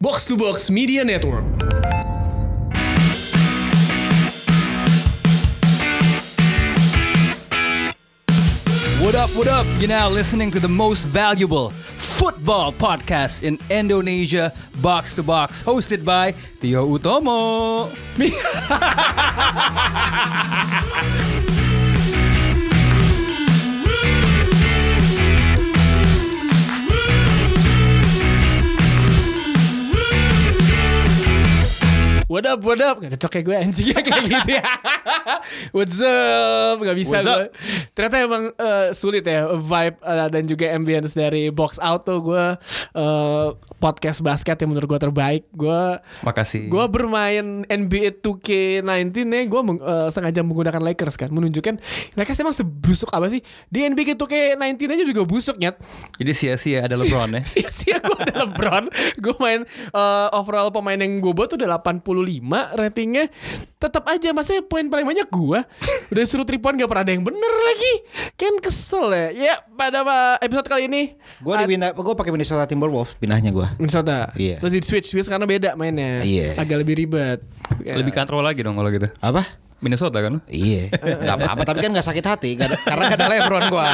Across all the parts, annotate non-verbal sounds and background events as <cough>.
Box to Box Media Network. What up, what up? You're now listening to the most valuable football podcast in Indonesia, Box to Box, hosted by Tio Utomo. What up, what up? Gak cocok ya gue anjing <laughs> ya kayak gitu ya. What's up? Gak bisa What's gue. up? Ternyata emang eh, sulit ya vibe eh, dan juga ambience dari Box Out tuh gue eh, podcast basket yang menurut gue terbaik. Gue Makasih. Gue bermain NBA 2K19 nih, gue sengaja menggunakan Lakers kan, menunjukkan Lakers emang sebusuk apa sih? Di NBA 2K19 aja juga busuk nyet. Jadi sia-sia ada LeBron <laughs> ya. Sia-sia gue ada LeBron, gue main eh, overall pemain yang gue buat tuh udah 85 ratingnya, tetap aja masanya poin paling banyak gue. Udah suruh three point gak pernah ada yang bener lagi, kan kesel ya. Ya pada eh, episode kali ini. Gue ad- dibina, gue pakai Minnesota Timberwolves pinahnya gue. Minnesota, Iya. terus di switch, switch karena beda mainnya, Iya. agak lebih ribet. Ya. Lebih kontrol lagi dong kalau gitu. Apa? Minnesota kan? Iya. Gak apa-apa, tapi kan gak sakit hati gak ada- karena gak ada Lebron gue.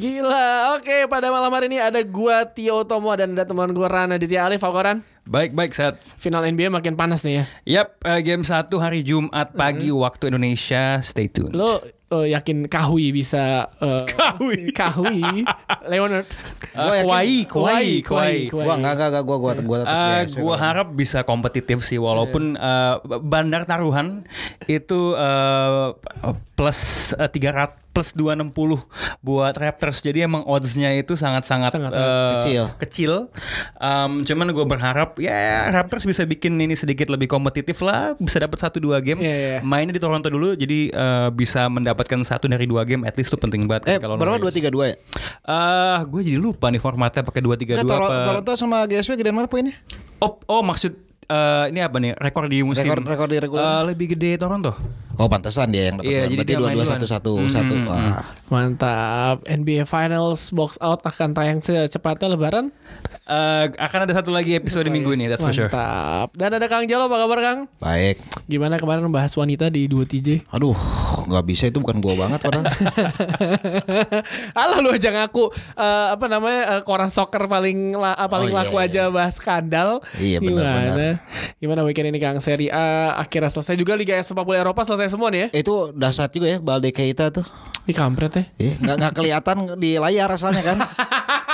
Gila, oke pada malam hari ini ada gua Tio Tomo dan ada teman gua Rana Ditya Alif. Apa Ran? Baik, baik, set. Final NBA makin panas nih ya. Yap, eh, game 1 hari Jumat pagi waktu Indonesia. Stay tuned. Lo eh, yakin Kahui bisa eh, <laughs> Kahui. Kahui Leonard. Gua Eh, yakin- Kawhi, Kawhi, Kawhi. Kawhi. Gue gak, gak, gak, gue, gue, gue tetap Eh, biasa. gua harap bisa kompetitif sih walaupun Iya. eh, bandar taruhan itu eh, plus eh, 300 plus 260 buat Raptors. Jadi emang odds-nya itu sangat-sangat Sangat, eh, kecil. kecil. Em, cuman gue berharap ya Raptors bisa bikin ini sedikit lebih kompetitif lah, bisa dapat 1 2 game. Iya, iya. Mainnya di Toronto dulu jadi eh, bisa mendapatkan satu dari dua game at least itu penting banget Eh, kalau lawan berapa? Dua Warriors. tiga dua ya? Eh, gue jadi lupa nih formatnya pakai 2 3 2 Nggak, Toro- apa. Toronto sama GSW gedean mana poinnya? Oh, oh maksud eh, ini apa nih rekor di musim? Rekor- rekor di reguler. Eh, lebih gede Toronto. Oh pantesan dia yang dapat. Iya, Iya, jadi Berarti dia dua dua main satu satu duluan. satu. Ah, Mm, Wah. Mantap. NBA Finals box out akan tayang secepatnya Lebaran. Eh, akan ada satu lagi episode minggu ini, that's for sure. Mantap. Dan ada Kang Jalo, apa kabar Kang? Baik. Gimana kemarin bahas wanita di <laughs> 2TJ? Aduh, nggak bisa itu bukan gua banget orang. Alah lu aja ngaku eh, apa namanya eh, koran soccer paling la- eh, paling Oh, iya, laku iya. aja bahas skandal. Iya, benar, Gimana? benar. Gimana weekend ini Kang Serie A akhirnya selesai juga Liga sepak bola Eropa selesai semua nih ya. <laughs> itu dasar juga ya Balde Keita tuh. Di kampret ya. Iya, nggak nggak kelihatan di layar asalnya <laughs> kan.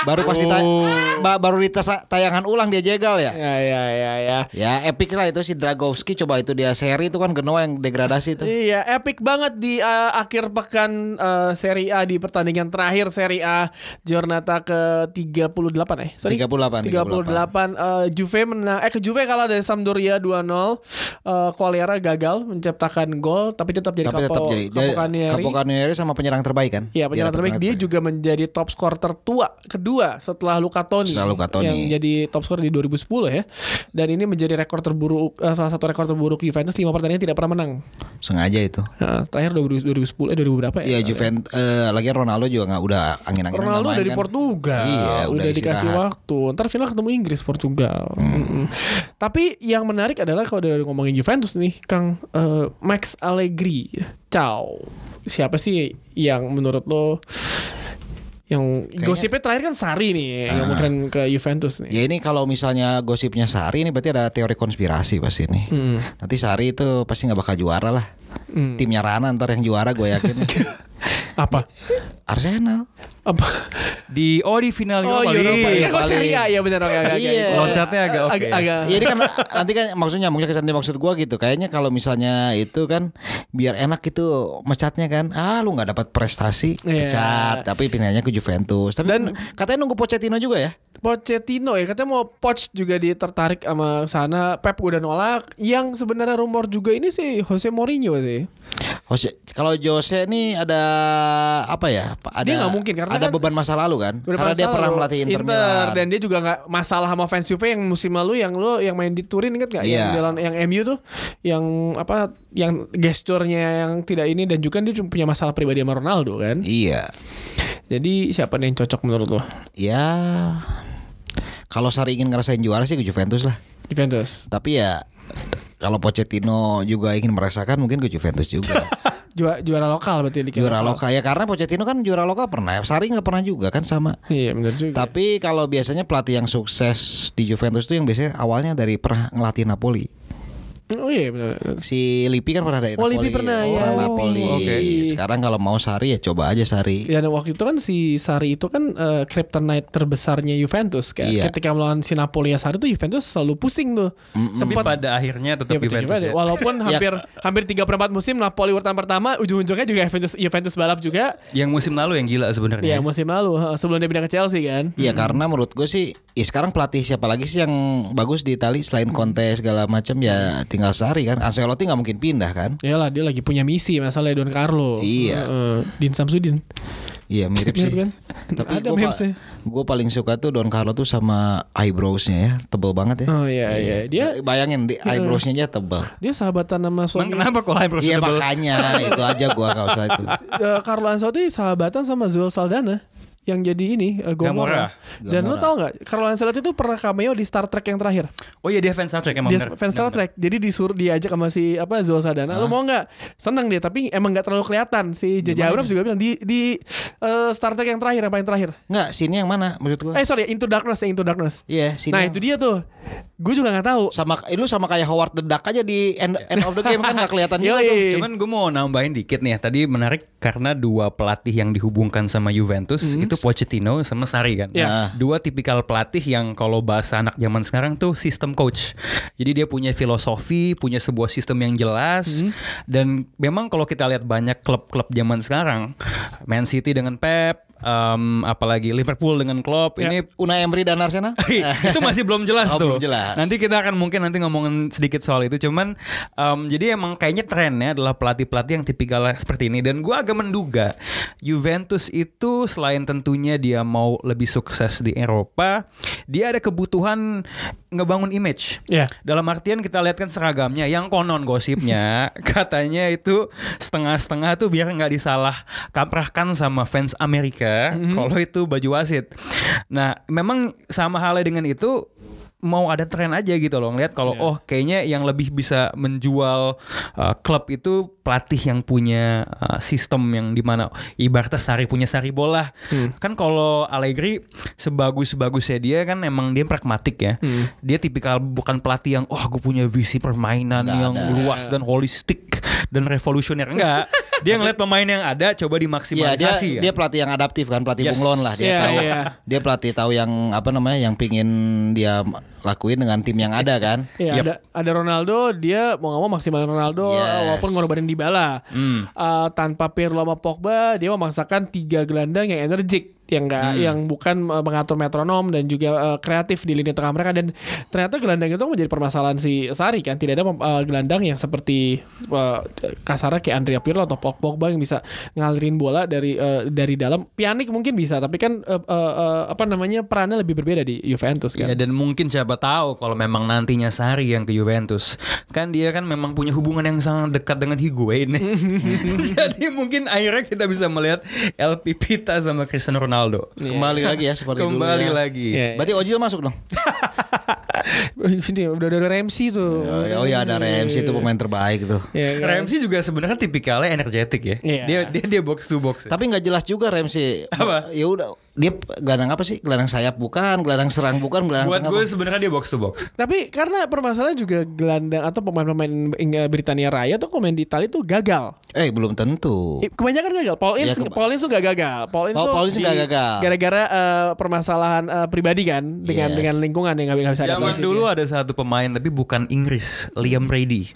Baru pas ditanya, ba- baru di tasa- tayangan ulang dia jegal ya. Ya ya ya ya. Ya epic lah itu si Dragowski coba itu dia seri itu kan Genoa yang degradasi itu. Iya, epic banget di eh, akhir pekan eh, Serie A di pertandingan terakhir Serie A Giornata ke-38 eh. Sorry. 38, 38. Eh, Juve menang eh ke Juve kalah dari Sampdoria 2-0. Eh Quagliara gagal menciptakan gol tapi tetap jadi Tapi tetap kapo, jadi dia- Capocanieri. Capocanieri sama penyerang terbaik kan? Iya penyerang terbaik dia juga menjadi top skor tertua kedua setelah Luca Toni Setelah Luca Toni. yang jadi top skor di 2010 ya dan ini menjadi rekor terburuk eh, salah satu rekor terburuk Juventus lima pertandingan tidak pernah menang sengaja itu. Nah, terakhir 2000 2010 eh 2000 berapa ya? Iya Juventus eh, lagi Ronaldo juga Nah, nggak udah angin-angin Ronaldo dari Portugal, Iya, udah, udah dikasih istirahat. waktu. Ntar Villa ketemu Inggris Portugal. Hmm. Mm-mm. Tapi yang menarik adalah kalau dari ngomongin Juventus nih, Kang eh, Max Allegri, ciao. Siapa sih yang menurut lo yang gosipnya terakhir kan Sari nih yang Ah. mungkin ke Juventus nih. Ya ini kalau misalnya gosipnya Sari ini berarti ada teori konspirasi pasti nih. Hmm. Nanti Sari itu pasti nggak bakal juara lah. Timnya Rana ntar yang juara gue <laughs> yakin. Apa? Arsenal. Apa? Di oh di final Oh, Europa League. Europa. Iya, kok Bali. Serie A ya benar oke oke, oke. Iya. Loncatnya agak oke. Agak- agak- <laughs> Iya ini kan nanti kan maksudnya mungkin kesan dia maksud gua gitu. Kayaknya kalau misalnya itu kan biar enak itu mecatnya kan. Ah lu nggak dapat prestasi Iya. pecat tapi pindahnya ke Juventus. Tapi Dan- katanya nunggu Pochettino juga ya. Pochettino ya katanya mau Poch juga ditertarik sama sana Pep udah nolak yang sebenarnya rumor juga ini sih Jose Mourinho sih Jose, kalau Jose nih ada apa ya? Ada Dia nggak mungkin, karena ada kan- beban masa lalu kan. Udah karena dia masalah pernah loh. melatih Inter, Milan. dan dia juga nggak masalah sama fans Juve yang musim lalu yang lo yang main di Turin inget gak yang Iya. jalan yang MU tuh yang apa yang gesturnya yang tidak ini dan juga dia cuma punya masalah pribadi sama Ronaldo kan Iya. jadi siapa nih yang cocok menurut lo Ya. Kalau Sari ingin ngerasain juara sih ke Juventus lah. Juventus. Tapi ya kalau Pochettino juga ingin merasakan mungkin ke Juventus <laughs> juga. Juara, juara lokal berarti Liga juara lokal ya karena Pochettino kan juara lokal pernah, Sari nggak pernah juga kan sama. Iya benar juga. Tapi kalau biasanya pelatih yang sukses di Juventus itu yang biasanya awalnya dari pernah ngelatih Napoli. oh iya benar. Si Lippi kan pernah dari Oh, Napoli. Lippi pernah, ya, Orang Lippi. Napoli. Oke. Sekarang kalau mau Sari ya coba aja Sari. Ya dan waktu itu kan si Sari itu kan eh, kryptonite terbesarnya Juventus kan. Iya. Ketika melawan si Napoli ya Sari tuh Juventus selalu pusing tuh. Tapi pada akhirnya Ya, tetap betul Juventus juga ya. deh. <laughs> Walaupun hampir hampir 3 per 4 musim Napoli urutan pertama ujung-ujungnya juga Juventus Juventus balap juga. Yang musim lalu yang gila Ya sebenarnya. musim lalu eh, sebelum dia pindah ke Chelsea kan. Iya karena menurut gue sih ya sekarang pelatih siapa lagi sih yang bagus di Itali selain Hmm. kontes segala macam ya tinggal Sari kan Ancelotti nggak mungkin pindah kan Iyalah dia lagi punya misi masalahnya Don Carlo. Iya. Heeh, Din Samsudin. Iya mirip sih Mirip kan? Tapi Ada gue memesnya. paling suka tuh Don Carlo tuh sama eyebrowsnya ya Tebel banget ya Oh iya iya. Dia Bayangin di eyebrowsnya aja tebel dia sahabatan sama Emang suami kenapa kalau Ibrahim Iya Tebel? makanya itu aja gua gak usah itu Eh, Carlo Ancelotti sahabatan sama Zul Saldana yang jadi ini eh, Gomora. Dan lo tau nggak Carlo Ancelotti itu pernah cameo di Star Trek yang terakhir. Oh iya dia fans Star Trek emang Dia bener. fans Star Trek. Jadi disuruh diajak sama si apa Zul Saldana. Lo mau nggak? Seneng dia tapi emang nggak terlalu kelihatan. Si J.J. Abrams juga bilang di di eh, Star Trek yang terakhir yang paling terakhir. Enggak sini yang mana maksud gua Eh sorry Into Darkness ya Into Darkness. Iya sini Nah yang- itu dia tuh. Gue juga nggak tahu. sama eh, lu sama kayak Howard the Duck aja di end, end of the game kan <laughs> gak Iya, kelihatan juga tuh. Yoi. Cuman gue mau nambahin dikit nih ya. Tadi menarik karena dua pelatih yang dihubungkan sama Juventus itu Pochettino sama Sarri kan. Hmm. Ya. Dua tipikal pelatih yang kalau bahasa anak zaman sekarang tuh sistem coach. Jadi dia punya filosofi, punya sebuah sistem yang jelas Hmm. dan memang kalau kita lihat banyak klub-klub zaman sekarang, Man City dengan Pep, em, apalagi Liverpool dengan Klopp, Ya. ini Unai Emery dan Eh, Arsenal itu masih belum jelas Oh, tuh. belum jelas. Nanti kita akan mungkin nanti ngomongin sedikit soal itu. Cuman em, jadi emang kayaknya trennya adalah pelatih-pelatih yang tipikal seperti ini. Dan gua agak menduga Juventus itu selain tentunya dia mau lebih sukses di Eropa, dia ada kebutuhan ngebangun image. Ya. Dalam artian kita lihat kan seragamnya yang konon gosipnya <laughs> katanya itu setengah-setengah tuh biar nggak disalah kaprahkan sama fans Amerika kalau itu baju wasit. Nah, memang sama halnya dengan itu mau ada tren aja gitu loh ngelihat kalau oh kayaknya yang lebih bisa menjual uh, klub itu pelatih yang punya uh, sistem yang dimana ibaratnya Sari punya Sari bola Hmm. kan kalau Allegri sebagus bagusnya dia kan emang dia pragmatik ya Hmm. dia tipikal bukan pelatih yang oh gue punya visi permainan yang luas dan holistik dan revolusioner <laughs> enggak dia ngeliat pemain yang ada coba Iya dia dimaksimalisasi kan. dia pelatih yang adaptif kan pelatih Yes. bunglon lah dia Iya, tahu iya. dia pelatih tahu yang apa namanya yang pingin dia lakuin dengan tim yang ada kan Ya, ada ada Ronaldo, dia mau nggak mau maksimalin Ronaldo Yes. walaupun ngorbanin Dybala. Eh, tanpa Pirlo sama Pogba, dia memaksakan tiga gelandang yang energik yang enggak yang bukan eh, mengatur metronom dan juga eh, kreatif di lini tengah mereka dan ternyata gelandang itu menjadi permasalahan si Sari kan tidak ada eh, gelandang yang seperti eh, kasarnya kayak Andrea Pirlo atau Pog- Pogba yang bisa ngalirin bola dari eh, dari dalam Pianik mungkin bisa tapi kan eh, eh, eh, apa namanya perannya lebih berbeda di Juventus kan Ya dan mungkin siapa tahu kalau memang nantinya Sari yang ke Juventus kan dia kan memang punya hubungan yang sangat dekat dengan <laughs> Higuain nih. Jadi mungkin akhirnya kita bisa melihat LP Pita sama Cristiano Ronaldo. kembali lagi ya seperti dulu Kembali ya. lagi. Iya. berarti Ojil masuk dong <laughs> Ini udah ada Ramsey tuh. oh ya, oh ya ada Ramsey itu pemain terbaik tuh Ya, kan? Ramsey juga sebenarnya tipikalnya energetik ya. Iya. Dia dia dia box to box. ya. tapi nggak jelas juga Ramsey Gitu. Apa? ya udah dia gelandang apa sih gelandang sayap bukan gelandang serang bukan gelandang Buat tengah gue sebenarnya dia box to box. Tapi karena permasalahan juga gelandang atau pemain-pemain Ing- eh, Britania Raya tuh pemain di Itali tuh gagal. bukan. eh belum tentu Eh, Kebanyakan gagal. Paul Ince, Ya, keba- Paul Ince tuh gak gagal. Paul Ince Paul- tuh Paul Ince di- gak gagal. Gara-gara eh, permasalahan eh, pribadi kan dengan Yes. dengan lingkungan yang gak, bisa Zaman adaptasi. dulu ada satu pemain tapi bukan Inggris, Liam Brady.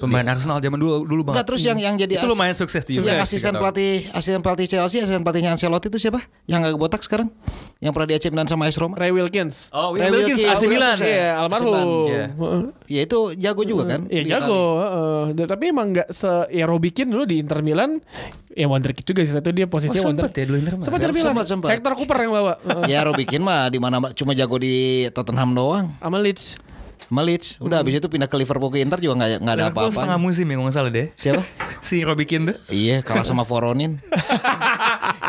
Pemain Arsenal zaman dulu dulu banget. Enggak terus yang yang jadi Itu as- lumayan sukses di Yang Juventus, asisten tiga tahun. pelatih asisten pelatih Chelsea, asisten pelatihnya Ancelotti itu siapa? Yang agak botak sekarang? Yang pernah di AC Milan sama AS Roma? Ray Wilkins. Oh, Ray Will Wilkins, Wilkins, AC Milan. sukses. Iya, almarhum. Iya. Heeh. Ya itu jago juga kan? Iya Eh, ya Di jago, heeh. Dan- tapi emang nggak se ya Robikin dulu di Inter Milan ya wonderkid juga sih satu dia posisinya Oh, sempet wonder. ya dulu Inter Milan? Sempat Inter Milan. Sempat, sempat. Hector Cooper yang bawa <laughs> Itali. Ya Robikin mah di mana cuma jago di Tottenham doang. sama Leeds. Melic. Udah habis itu pindah ke Liverpool ke Inter juga nggak nggak ada Hmm. Liverpool setengah apa-apa. musim ya kalau nggak salah deh. Siapa? <laughs> Si Robbie Keane tuh. Iya, kalah sama Voronin.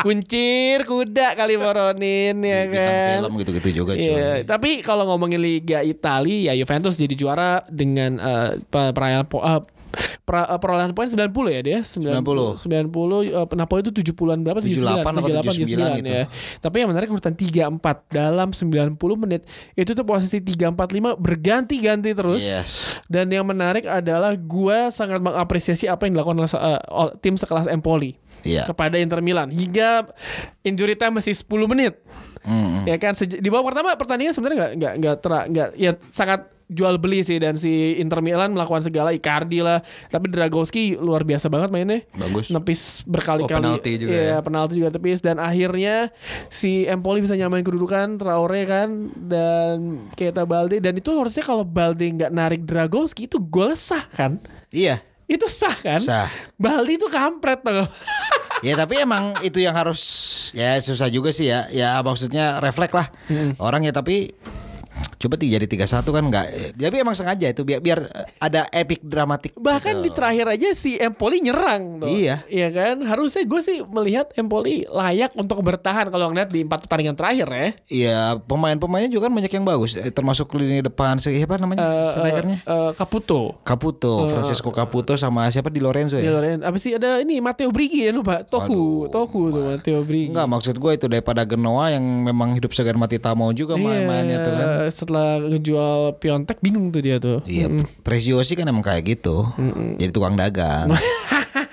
Kuncir kuda kali Moronin Iya, ya Bintang kan. film gitu-gitu juga cuy. Iya, tapi kalau ngomongin Liga Italia, ya Juventus jadi juara dengan eh, pe- perayaan po- eh, pra- eh, perolehan poin 90 ya dia 90 90 eh, Napoli itu 70-an berapa 78 apa 79 gitu. ya. Tapi yang menarik urutan 3-4 dalam 90 menit itu tuh posisi 3-4-5 berganti-ganti terus. Yes. Dan yang menarik adalah gua sangat mengapresiasi apa yang dilakukan oleh se- eh, ol- tim sekelas Empoli Iya. kepada Inter Milan hingga injury time masih 10 menit. Hmm. Mm-mm. Ya kan Sej- di babak pertama pertandingan sebenarnya nggak nggak nggak ter- nggak ya sangat jual beli sih dan si Inter Milan melakukan segala Icardi lah tapi Dragowski luar biasa banget mainnya Bagus. nepis berkali-kali Oh, penalti juga Iya, ya. penalti juga tepis dan akhirnya si Empoli bisa nyamain kedudukan Traore kan dan Keita Balde dan itu harusnya kalau Balde nggak narik Dragowski itu gol sah kan Iya. itu sah kan Sah. Balde itu kampret tuh Ya tapi emang itu yang harus ya susah juga sih ya. Ya maksudnya refleks lah. Orang ya tapi coba ti- jadi 31 kan enggak. Tapi emang sengaja itu biar biar ada epic dramatik. Bahkan di terakhir aja si Empoli nyerang tuh. Iya. Iya kan? Harusnya gue sih melihat Empoli layak untuk bertahan kalau ngeliat di empat pertandingan terakhir ya. Iya, pemain-pemainnya juga kan banyak yang bagus, eh, termasuk lini depan si- siapa namanya? Eh, strikernya? eh, eh, Caputo. Caputo, Francisco Caputo sama siapa di Lorenzo Ya, ya? Loren. Apa sih ada ini Matteo Brighi ya lupa. Tohu, Waduh, Tohu tuh Matteo Brighi. Enggak, maksud gue itu daripada Genoa yang memang hidup segar mati tak mau juga Iya, main-mainnya tuh kan. Setelah ngejual Piontek bingung tuh dia tuh. Iya, Preziosi kan emang kayak gitu. Jadi tukang <laughs> dagang. <laughs>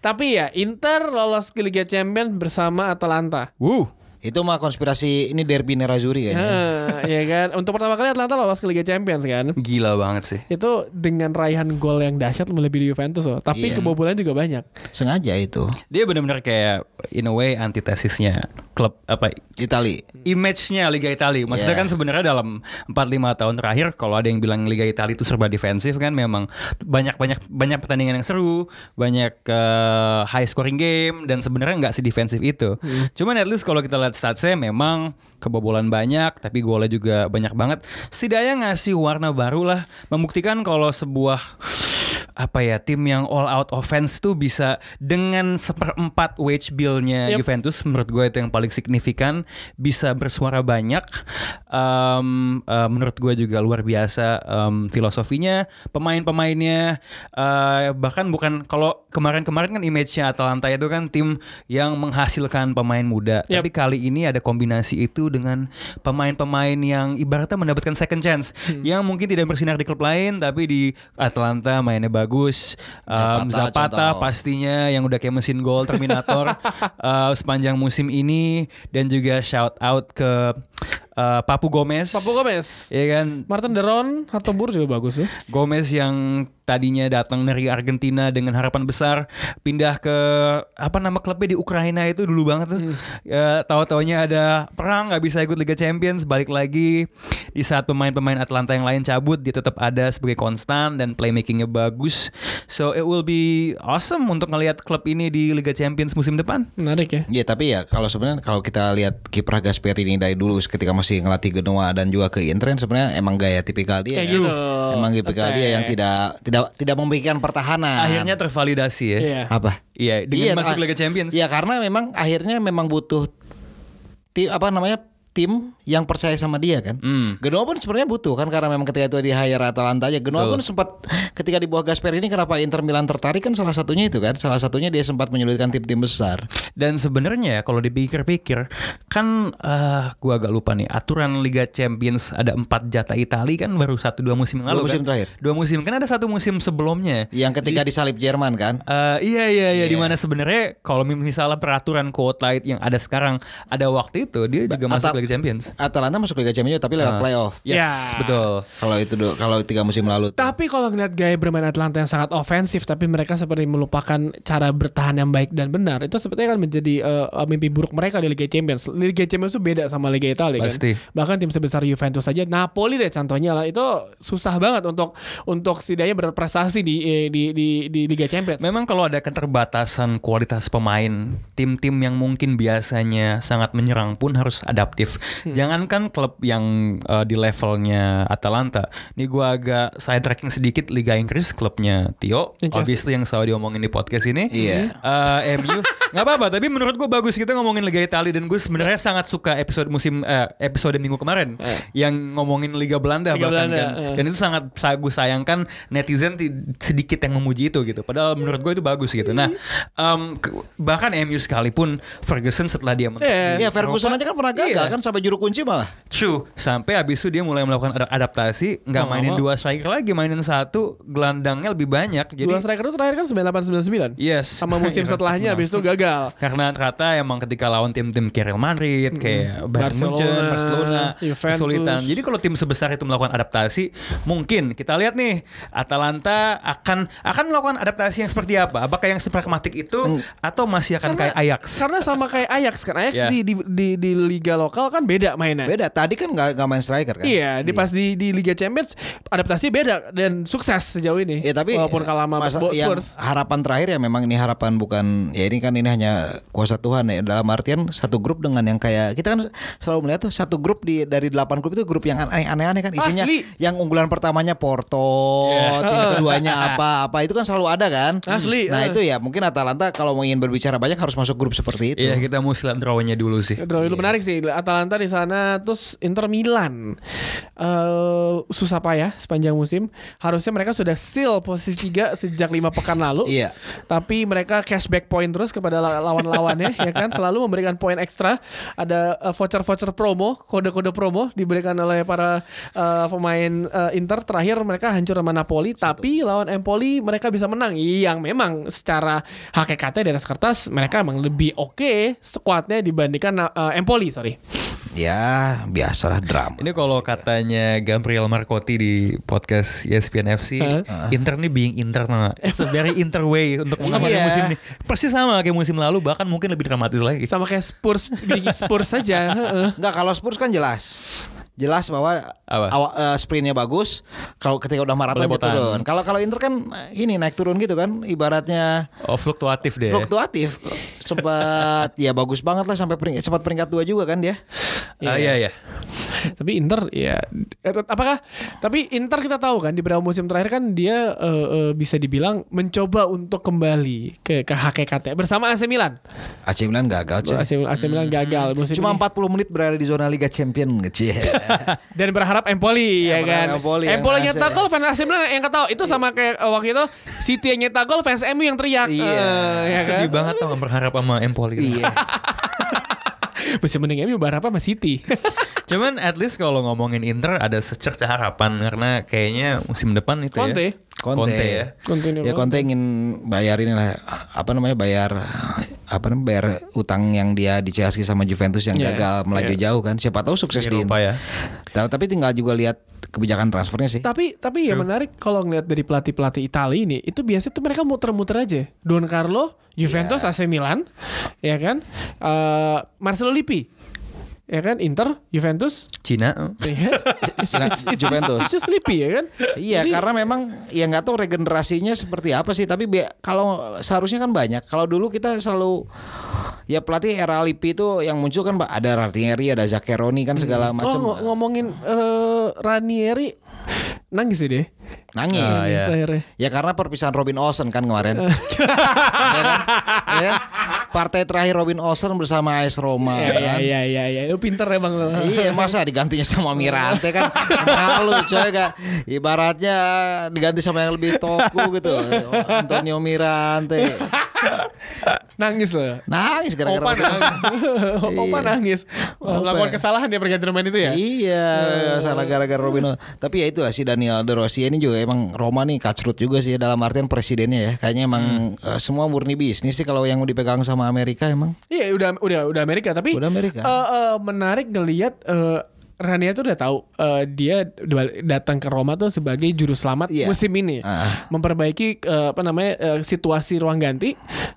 Tapi ya Inter lolos ke Liga Champions bersama Atalanta. Wuh. itu mah konspirasi ini derby Nerazzurri kayaknya. Nah, ya kan. Untuk pertama kali Atalanta lolos ke Liga Champions kan. Gila banget sih. itu dengan raihan gol yang dahsyat melebihi Juventus loh. Tapi Iya. kebobolan juga banyak. Sengaja itu. Dia benar-benar kayak in a way antitesisnya klub apa Itali. Hmm. image-nya Liga Italia. Maksudnya Yeah. kan sebenarnya dalam 4-5 tahun terakhir kalau ada yang bilang Liga Italia itu serba defensif kan memang banyak-banyak banyak pertandingan yang seru, banyak eh, high scoring game dan sebenarnya nggak sedefensif itu. Cuman at least kalau kita lihat statsnya memang kebobolan banyak tapi golnya juga banyak banget. Setidaknya ngasih warna baru lah membuktikan kalau sebuah apa ya tim yang all out offense tuh bisa dengan seperempat wage bill-nya Yep. Juventus menurut gue itu yang paling signifikan bisa bersuara banyak Em, eh, menurut gue juga luar biasa em, filosofinya pemain-pemainnya eh, bahkan bukan kalau kemarin-kemarin kan image-nya Atalanta itu kan tim yang menghasilkan pemain muda Yep. tapi kali ini ada kombinasi itu dengan pemain-pemain yang ibaratnya mendapatkan second chance yang mungkin tidak bersinar di klub lain tapi di Atalanta mainnya bagus Em, Zapata, Zapata, contoh. pastinya yang udah kayak mesin gol Terminator eh, sepanjang musim ini dan juga shout out ke eh, Papu Gomez. Papu Gomez, Iya kan? Martin Deron, Hatembur juga bagus ya. Gomez yang tadinya datang dari Argentina dengan harapan besar pindah ke apa nama klubnya di Ukraina itu dulu banget tuh. Ya, tahu-taunya ada perang nggak bisa ikut Liga Champions balik lagi di saat pemain-pemain Atlanta yang lain cabut dia tetap ada sebagai konstan dan playmakingnya bagus. So it will be awesome untuk ngelihat klub ini di Liga Champions musim depan. Menarik ya. Iya tapi ya kalau sebenarnya kalau kita lihat kiprah Gasperi ini dari dulu ketika masih ngelatih Genoa dan juga ke Inter kan sebenarnya emang gaya tipikal dia. Kayak kan? gitu. Emang tipikal dia yang tidak tidak tidak memikirkan pertahanan. Akhirnya tervalidasi ya. Iya. apa? Iya, dengan masuk ah- Liga Champions. Iya karena memang akhirnya memang butuh tim apa namanya tim yang percaya sama dia kan. Hmm. Genoa pun sebenarnya butuh kan karena memang ketika itu di hire Atalanta aja. Genoa pun sempat ketika di bawah Gasper ini kenapa Inter Milan tertarik kan salah satunya itu kan. Salah satunya dia sempat menyulitkan tim-tim besar. Dan sebenarnya ya, kalau dipikir-pikir kan eh, gua agak lupa nih aturan Liga Champions ada empat jatah Itali kan baru satu dua musim yang lalu Dua musim kan? terakhir. Iya. Dua musim kan ada satu musim sebelumnya. Yang ketika disalip Jerman kan. Eh, iya iya iya dimana sebenarnya kalau mi- misalnya peraturan kuota yang ada sekarang ada waktu itu dia juga masuk Atal- Liga Champions. Ah. Iya. Atalanta masuk Liga Champions tapi lewat playoff. Yes Ya. betul. Kalau itu du- kalau tiga musim lalu. tuh. Tapi kalau ngeliat gaya bermain Atlanta yang sangat ofensif tapi mereka seperti melupakan cara bertahan yang baik dan benar itu sepertinya kan menjadi eh, mimpi buruk mereka di Liga Champions Liga Champions itu beda sama Liga Italia Pasti. kan bahkan tim sebesar Juventus saja Napoli deh contohnya lah itu susah banget untuk untuk setidaknya berprestasi di eh, di di, di Liga Champions Memang kalau ada keterbatasan kualitas pemain, tim-tim yang mungkin biasanya sangat menyerang pun harus adaptif. Hmm. Jangankan klub yang eh, di levelnya Atalanta. Ini gua agak sidetracking sedikit Liga Inggris klubnya Tio, Yang Chelsea. obviously yang selalu diomongin di podcast ini. Iya. Eh, MU nggak apa-apa tapi menurut gue bagus kita ngomongin Liga Italia dan gue sebenarnya sangat suka episode musim eh, episode minggu kemarin yang ngomongin Liga Belanda Liga bahkan Belanda, kan. eh. dan itu sangat sa- gue sayangkan netizen ti- sedikit yang memuji itu gitu padahal menurut gue itu bagus gitu nah em, ke- bahkan MU sekalipun Ferguson setelah dia menang Iya. di Iya, Ferguson Eropa, aja kan pernah gagal iya. kan sampai juru kunci malah. True. Sampai habis itu dia mulai melakukan ad- adaptasi, nggak mainin dua striker lagi, mainin satu, gelandangnya lebih banyak. Jadi dua striker itu terakhir kan 98 99 Yes. Iya. <laughs> Iya. sama <laughs> musim setelahnya habis itu gagal Karena ternyata emang ketika lawan tim-tim kayak Real Madrid, kayak Bayern Barcelona, Munchen, Barcelona, Juventus. kesulitan. Jadi kalau tim sebesar itu melakukan adaptasi, mungkin kita lihat nih Atalanta akan akan melakukan adaptasi yang seperti apa? Apakah yang pragmatik itu atau masih Kan akan kayak Ajax? Mm. karena sama kayak Ajax kan Ajax Ya. di, di di di liga lokal kan beda mainnya Iya. Beda. Tadi kan nggak nggak main striker kan. Iya, di pas di di Liga Champions adaptasi beda dan sukses sejauh ini. Ya tapi walaupun kalah sama masa- Bo- yang Spurs. harapan terakhir ya memang ini harapan bukan ya ini kan ini hanya kuasa Tuhan ya dalam artian satu grup dengan yang kayak kita kan selalu melihat tuh satu grup di dari delapan grup itu grup yang aneh-aneh kan isinya Asli. yang unggulan pertamanya Porto, <laughs> tim keduanya apa apa itu kan selalu ada kan. Asli, eh. Nah itu ya mungkin Atalanta kalau mau ingin berbicara banyak harus masuk grup seperti itu. Iya, kita mau silam drawnya dulu sih. Draw Iya. itu Iya, menarik sih Atalanta di sana terus Inter Milan eh susah payah sepanjang musim. Harusnya mereka sudah seal posisi tiga sejak lima pekan lalu. Iya. Tapi mereka cashback point terus kepada la- lawan-lawannya ya kan selalu memberikan poin ekstra. Ada eh, voucher-voucher promo, kode-kode promo diberikan oleh para eh, pemain eh, Inter terakhir mereka hancur sama Napoli tapi lawan Empoli mereka bisa menang. Yang memang secara hakikatnya di atas kertas mereka emang lebih oke sekuatnya dibandingkan eh, Empoli, sorry. Ya biasalah drama. Ini kalau katanya Gabriel Marcotti di podcast E ESPN FC, Inter nih being internal. It's a very Inter way untuk <laughs> mengamati Iya. musim ini. Persis sama kayak musim lalu, bahkan mungkin lebih dramatis lagi. Sama kayak Spurs di Spurs saja. <laughs> heeh. Enggak kalau Spurs kan jelas. Jelas bahwa Apa? awa- eh, sprintnya bagus. Kalau ketika udah maraton dia Belepotan. turun. Kalau kalau Inter kan eh, ini naik turun gitu kan ibaratnya Oh, fluktuatif deh. fluktuatif. Sempat ya bagus banget lah sampai peringkat sempat peringkat dua juga kan dia. Ah, iya iya. tapi Inter ya eh, tet- apakah tapi Inter kita tahu kan di beberapa musim terakhir kan dia eh, eh, bisa dibilang mencoba untuk kembali ke ke hakikatnya bersama AC Milan. AC Milan gagal cuy. AC, AC Milan gagal musim Iya. Hmm. Cuma ini. 40 menit berada di zona Liga Champion kecil. Iya. dan berharap Empoli ya, Ya, kan. berharap Empoli Empoli, yang berhasil, nyetak ya. Iya. gol fans AC Milan yang ketawa itu sama kayak eh, waktu itu City yang nyetak gol fans MU yang teriak. Iya. Eh, ya kan? Sedih banget tau nggak berharap sama Empoli. <laughs> iya. Musim mending MU berharap sama City. <laughs> Cuman at least kalau ngomongin Inter ada secerca harapan karena kayaknya musim depan itu Conte. ya. Conte ya. Continue. Ya Conte ingin bayarin lah apa namanya bayar apa namanya bayar utang yang dia di Chelsea sama Juventus yang Iya, gagal melaju jauh kan. Siapa tahu sukses di Eropa ya. Ta- Tapi tinggal juga lihat kebijakan transfernya sih. Tapi tapi ya menarik kalau ngelihat dari pelatih-pelatih Itali ini, itu biasanya tuh mereka muter-muter aja. Don Carlo, Juventus, Iya. AC Milan, ya kan? Eh, Marcelo Lippi. Ya kan Inter, Juventus, <laughs> Cina. ya. It's- it's- it's- Iya. Nah, Juventus. It's just Lippi ya kan? Iya, Jadi, karena memang ya nggak tahu regenerasinya seperti apa sih. Tapi bi- kalau seharusnya kan banyak. Kalau dulu kita selalu ya pelatih era Lippi itu yang muncul kan Pak, ada Ranieri, ada Zaccheroni kan segala oh, macam. ngo- ngomongin eh, Ranieri nangis sih deh. Nangis. Ah, iya. Terakhirnya. Ya karena perpisahan Robin Olsen kan kemarin. Eh. <laughs> ya kan? Ya kan? Partai terakhir Robin Olsen bersama AS Roma. Iya iya kan? iya iya iya. Lu pinter emang lu. <laughs> Iya masa digantinya sama Mirante kan malu coy kan ibaratnya diganti sama yang lebih toko gitu Antonio Mirante Nangis loh. nangis gara-gara Opa Robin Olsen. nangis. <laughs> Opa nangis. Wah, Melakukan kesalahan dia pergantian pemain itu ya. Iya salah gara-gara Robin Olsen. tapi ya itulah si Daniel De Rossi ini juga emang Roma nih kacrut juga sih dalam artian presidennya ya kayaknya emang Hmm. eh, semua murni bisnis sih kalau yang dipegang sama Amerika emang Iya udah udah udah Amerika tapi Udah Amerika. eh, eh, menarik ngelihat eh, Rania tuh udah tahu eh, dia dibal- datang ke Roma tuh sebagai juru selamat Iya. musim ini, Ah. memperbaiki eh, apa namanya eh, situasi ruang ganti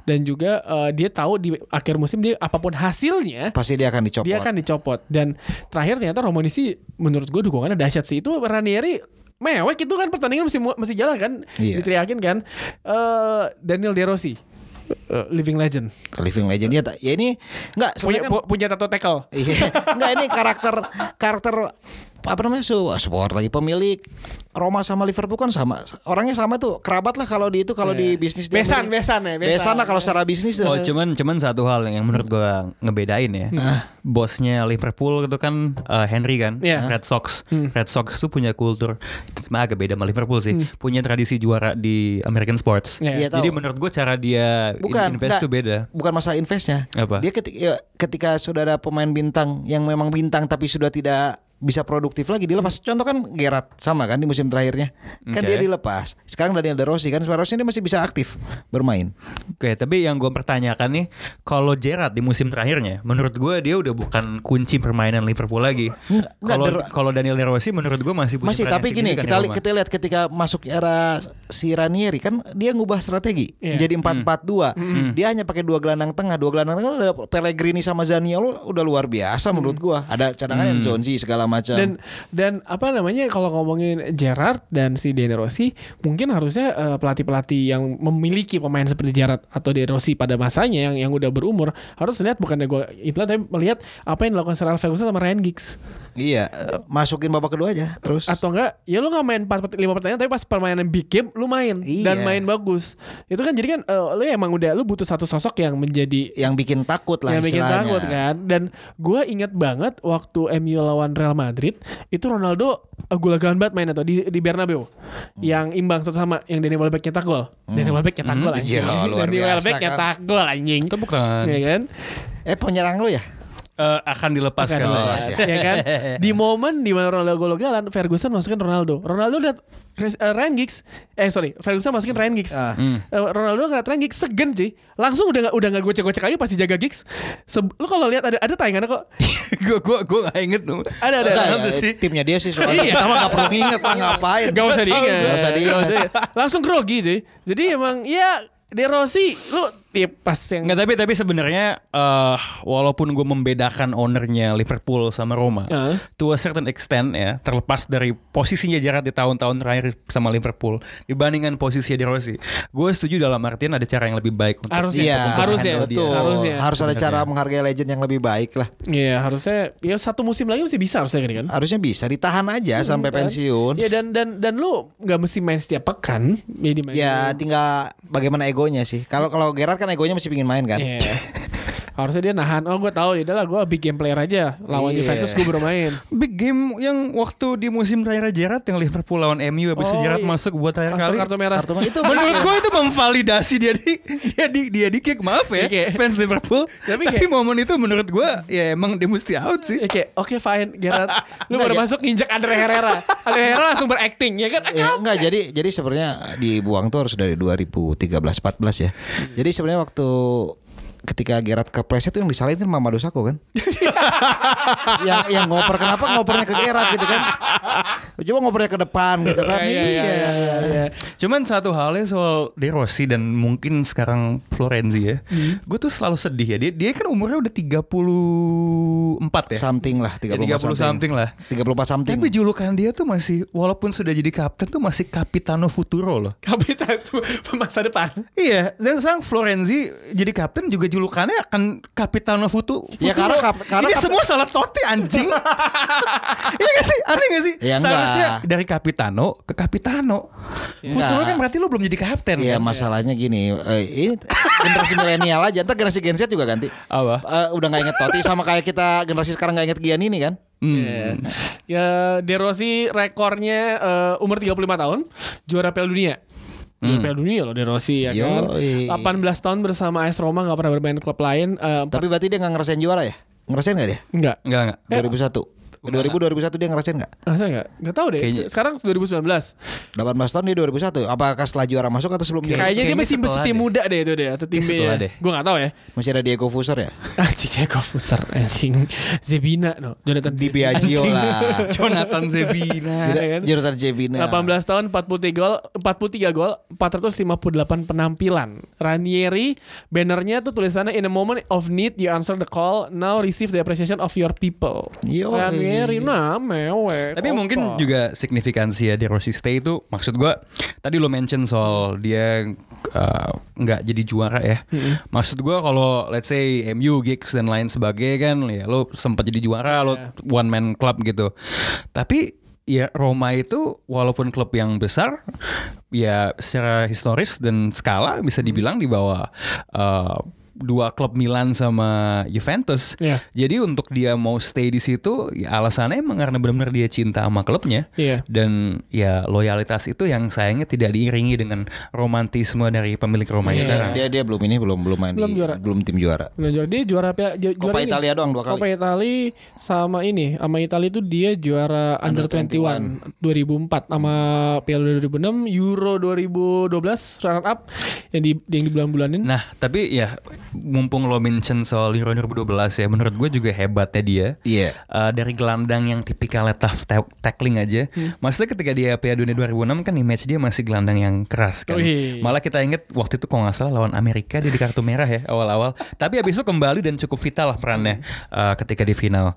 dan juga eh, dia tahu di akhir musim dia apapun hasilnya Pasti dia akan dicopot. dia akan dicopot dan terakhir ternyata Romani sih menurut gue dukungannya dahsyat sih itu Ranieri mewek itu kan pertandingan masih mu- masih jalan kan Iya. diteriakin kan Eh, Daniel De Rossi eh, living legend Living Legend dia tak- ya ini punya enggak sebenarnya kan- pu- punya tato tackle Iya. Enggak ini karakter karakter apa namanya su support lagi pemilik Roma sama Liverpool kan sama orangnya sama tuh kerabat lah kalau di itu kalau di bisnis Iya. dia Besan, beri- besan ya, besan. lah kalau secara bisnis tuh. Oh cuman cuman satu hal yang menurut gua ngebedain ya. Bosnya Liverpool itu kan eh, Henry kan, Iya. Red Sox. Red Sox tuh punya kultur sebenarnya agak beda sama Liverpool sih. Punya tradisi juara di American sports. Iya. Iya, tahu. Jadi menurut gua cara dia in- bukan invest enggak. tuh beda. Bukan masalah investnya. Apa? Dia ketika ya, ketika sudah ada pemain bintang yang memang bintang tapi sudah tidak bisa produktif lagi dilepas. Contoh kan Gerard sama kan di musim terakhirnya. Kan Oke. dia dilepas. Sekarang Daniel De Rossi kan sebenarnya Rossi ini masih bisa aktif bermain. Oke, tapi yang gue pertanyakan nih, kalau Gerrard di musim terakhirnya, menurut gua dia udah bukan kunci permainan Liverpool lagi. Enggak, enggak, Kalau Der- kalau Daniel De Rossi menurut gua masih punya Masih peran yang tapi gini signifikan kita di li- Roma. kita lihat ketika masuk era si Ranieri kan dia ngubah strategi Iya. Hmm. jadi 4-4-2. Dia hanya pakai dua gelandang tengah, dua gelandang tengah ada Pellegrini sama Zaniolo udah luar biasa menurut gua. Ada cadangan yang Zonzi segala macam. Hmm. dan dan apa namanya kalau ngomongin Gerard dan si De Rossi mungkin harusnya eh, pelatih-pelatih yang memiliki pemain seperti Gerard atau De Rossi pada masanya yang yang udah berumur harus lihat bukannya gue itu tapi melihat apa yang dilakukan Sir Alex Ferguson sama Ryan Giggs Iya, eh, masukin babak kedua aja terus. atau enggak ya lu nggak main 4 pert- 5 pertandingan tapi pas permainan big game lu main Iya. dan main bagus itu kan jadi kan eh, lu emang udah lu butuh satu sosok yang menjadi yang bikin takut lah yang bikin istilahnya. takut kan dan gue ingat banget waktu MU lawan Real Madrid itu Ronaldo gulagan banget mainnya tuh di, di Bernabeu Hmm. yang imbang satu sama yang Danny Welbeck nyetak gol Danny Welbeck nyetak gol anjing <laughs> Iya, luar Danny biasa Welbeck kan. nyetak gol anjing Itu bukan ya kan Eh penyerang lu ya? eh, akan dilepas Kan, kan. dilepas. <laughs> ya. <laughs> kan di momen di mana Ronaldo gol-golan Ferguson masukin Ronaldo Ronaldo lihat Chris- eh, Ryan Giggs eh sorry Ferguson masukin Ryan Giggs Ah. Eh, Ronaldo ngeliat Ryan Giggs segen cuy langsung udah nggak udah nggak gocek-gocek lagi pasti jaga Giggs Se- lu kalau lihat ada ada tayangannya kok gue gue gue gak inget tuh. ada ada, Enggak, ada. apa ya, sih? timnya dia sih soalnya kita mah gak perlu nginget lah ngapain. Gak Iya. usah diingat. Gak usah diingat. Langsung grogi cuy. Jadi emang ya De Rossi lu ya pas yang Nggak tapi tapi sebenarnya eh walaupun gue membedakan ownernya Liverpool sama Roma, Heeh. to a certain extent ya terlepas dari posisinya Gerrard di tahun-tahun terakhir sama Liverpool dibandingkan posisinya De Rossi, gue setuju dalam artian ada cara yang lebih baik untuk Harusnya. Iya, untuk Harusnya, handle dia. betul. Harusnya. Harus ada cara menghargai legend yang lebih baik lah. Iya harusnya ya satu musim lagi masih bisa harusnya gini kan. Hmm? Harusnya bisa ditahan aja sampai Kan? pensiun. Ya dan dan dan lu nggak mesti main setiap pekan. Ya dimainin. Ya tinggal bagaimana egonya sih. Kalau kalau Gerard kan egonya masih pingin main kan. Iya. harusnya dia nahan. Oh gue tahu ya udahlah gue big game player aja. Lawan Iya. Juventus gue bermain. Big game yang waktu di musim terakhir Gerrard yang Liverpool lawan MU habis itu Oh, Gerrard iya. masuk buat terakhir Langsung kali. kartu merah. Kartu merah itu Menurut gue itu memvalidasi dia di dia di dia di kick maaf ya Oke. fans Liverpool. Iya, Tapi Tapi, kayak- momen itu menurut gue ya emang dia mesti out <laughs> sih. Ya kayak oke fine Gerard Lu Nggak, baru ya. masuk nginjek Andre Herrera Andre Herrera langsung berakting ya kan <laughs> Ya, enggak jadi jadi sebenarnya dibuang tuh harus dari 2013 14 ya. Jadi sebenarnya waktu ketika Gerard kepleset tuh yang disalahin kan Mama Dosako kan. <laughs> yang yang ngoper kenapa ngopernya ke Gerard gitu kan. Coba ngopernya ke depan gitu kan. Iya, iya, iya, iya, iya. Cuman satu halnya soal De Rossi dan mungkin sekarang Florenzi ya. Hmm. Gue tuh selalu sedih ya. Dia dia kan umurnya udah iya. 34 ya. Something lah 30 Ya, 30 something lah. 34 something. Tapi julukan dia tuh masih walaupun sudah jadi kapten tuh masih Capitano Futuro loh. Kapitan tuh masa depan Iya, dan sang Florenzi jadi kapten juga julukannya akan Capitano Futu. Ya, Futuro. karena kap- karena ini kap- semua salah Totti <laughs> anjing. iya gak sih? Aneh gak sih? Ya, enggak. Seharusnya dari Capitano ke Capitano. Futuro Enggak. kan berarti lo belum jadi kapten. Iya kan? masalahnya gini, eh, ini generasi milenial aja, ntar generasi Gen Z juga ganti. Apa? Eh, udah nggak inget Toti sama kayak kita generasi sekarang nggak inget Gian ini kan? Hmm. Ya, ya De Rossi rekornya eh, umur 35 tahun juara Piala Dunia. Juara Hmm. Piala Dunia loh De Rossi ya kan. Yoi. 18 tahun bersama AS Roma nggak pernah bermain klub lain. eh, empat- Tapi berarti dia nggak ngerasain juara ya? Ngerasain nggak dia? enggak. Enggak, enggak. 2001. 2000 2001 dia ngerasain nggak? Ah, saya nggak nggak tahu deh. Kayaknya- Sekarang 2019. 18 tahun dia 2001. Apakah setelah juara masuk atau sebelum Kayaknya, juara? dia kayaknya masih masih setelah tim deh. muda deh itu deh atau tim Kayak B setelah ya. deh. Gue nggak tahu ya. <laughs> Masih ada Diego Fuser ya? Anjing Diego Fuser anjing Zebina no. Jonathan Di Biagio <laughs> lah. Jonathan Zebina. Iya kan? Jonathan Jebina. 18 tahun 43 gol 43 gol 458 penampilan Ranieri bannernya tuh tulisannya in a moment of need you answer the call now receive the appreciation of your people Yoi. Ranieri nah mewek Tapi opa. mungkin juga signifikansi ya di Rossi Stay itu maksud gua tadi lo mention soal dia uh, nggak jadi juara ya. Maksud gua kalau let's say MU gigs dan lain sebagainya kan ya lo sempat jadi juara lo Iya. one man club gitu. Tapi ya Roma itu walaupun klub yang besar ya secara historis dan skala bisa dibilang di bawah uh, dua klub Milan sama Juventus. Iya. Jadi untuk dia mau stay di situ, ya alasannya emang karena benar-benar dia cinta sama klubnya. Iya. Dan ya loyalitas itu yang sayangnya tidak diiringi dengan romantisme dari pemilik Roma Iya. sekarang. Dia dia belum ini belum belum main Belum di, juara. belum tim juara. Nah, juara dia juara Piala ju- juara Coppa ini. Italia doang dua kali. Copa Italia sama ini, sama Italia itu dia juara Under, 21, 2004 sama Piala 2006, Euro 2012 runner up yang di yang di bulan-bulanin. Nah, tapi ya mumpung lo mention soal Euro 2012 ya, menurut gue juga hebatnya dia. Iya. Eh, dari gelandang yang tipikalnya tough ta- tackling aja. Hmm. Maksudnya ketika dia Piala Dunia 2006 kan image dia masih gelandang yang keras kan. Wih. Malah kita inget waktu itu kalau nggak salah lawan Amerika dia di kartu merah ya awal-awal. Tapi habis itu kembali dan cukup vital lah perannya eh, Hmm. ketika di final.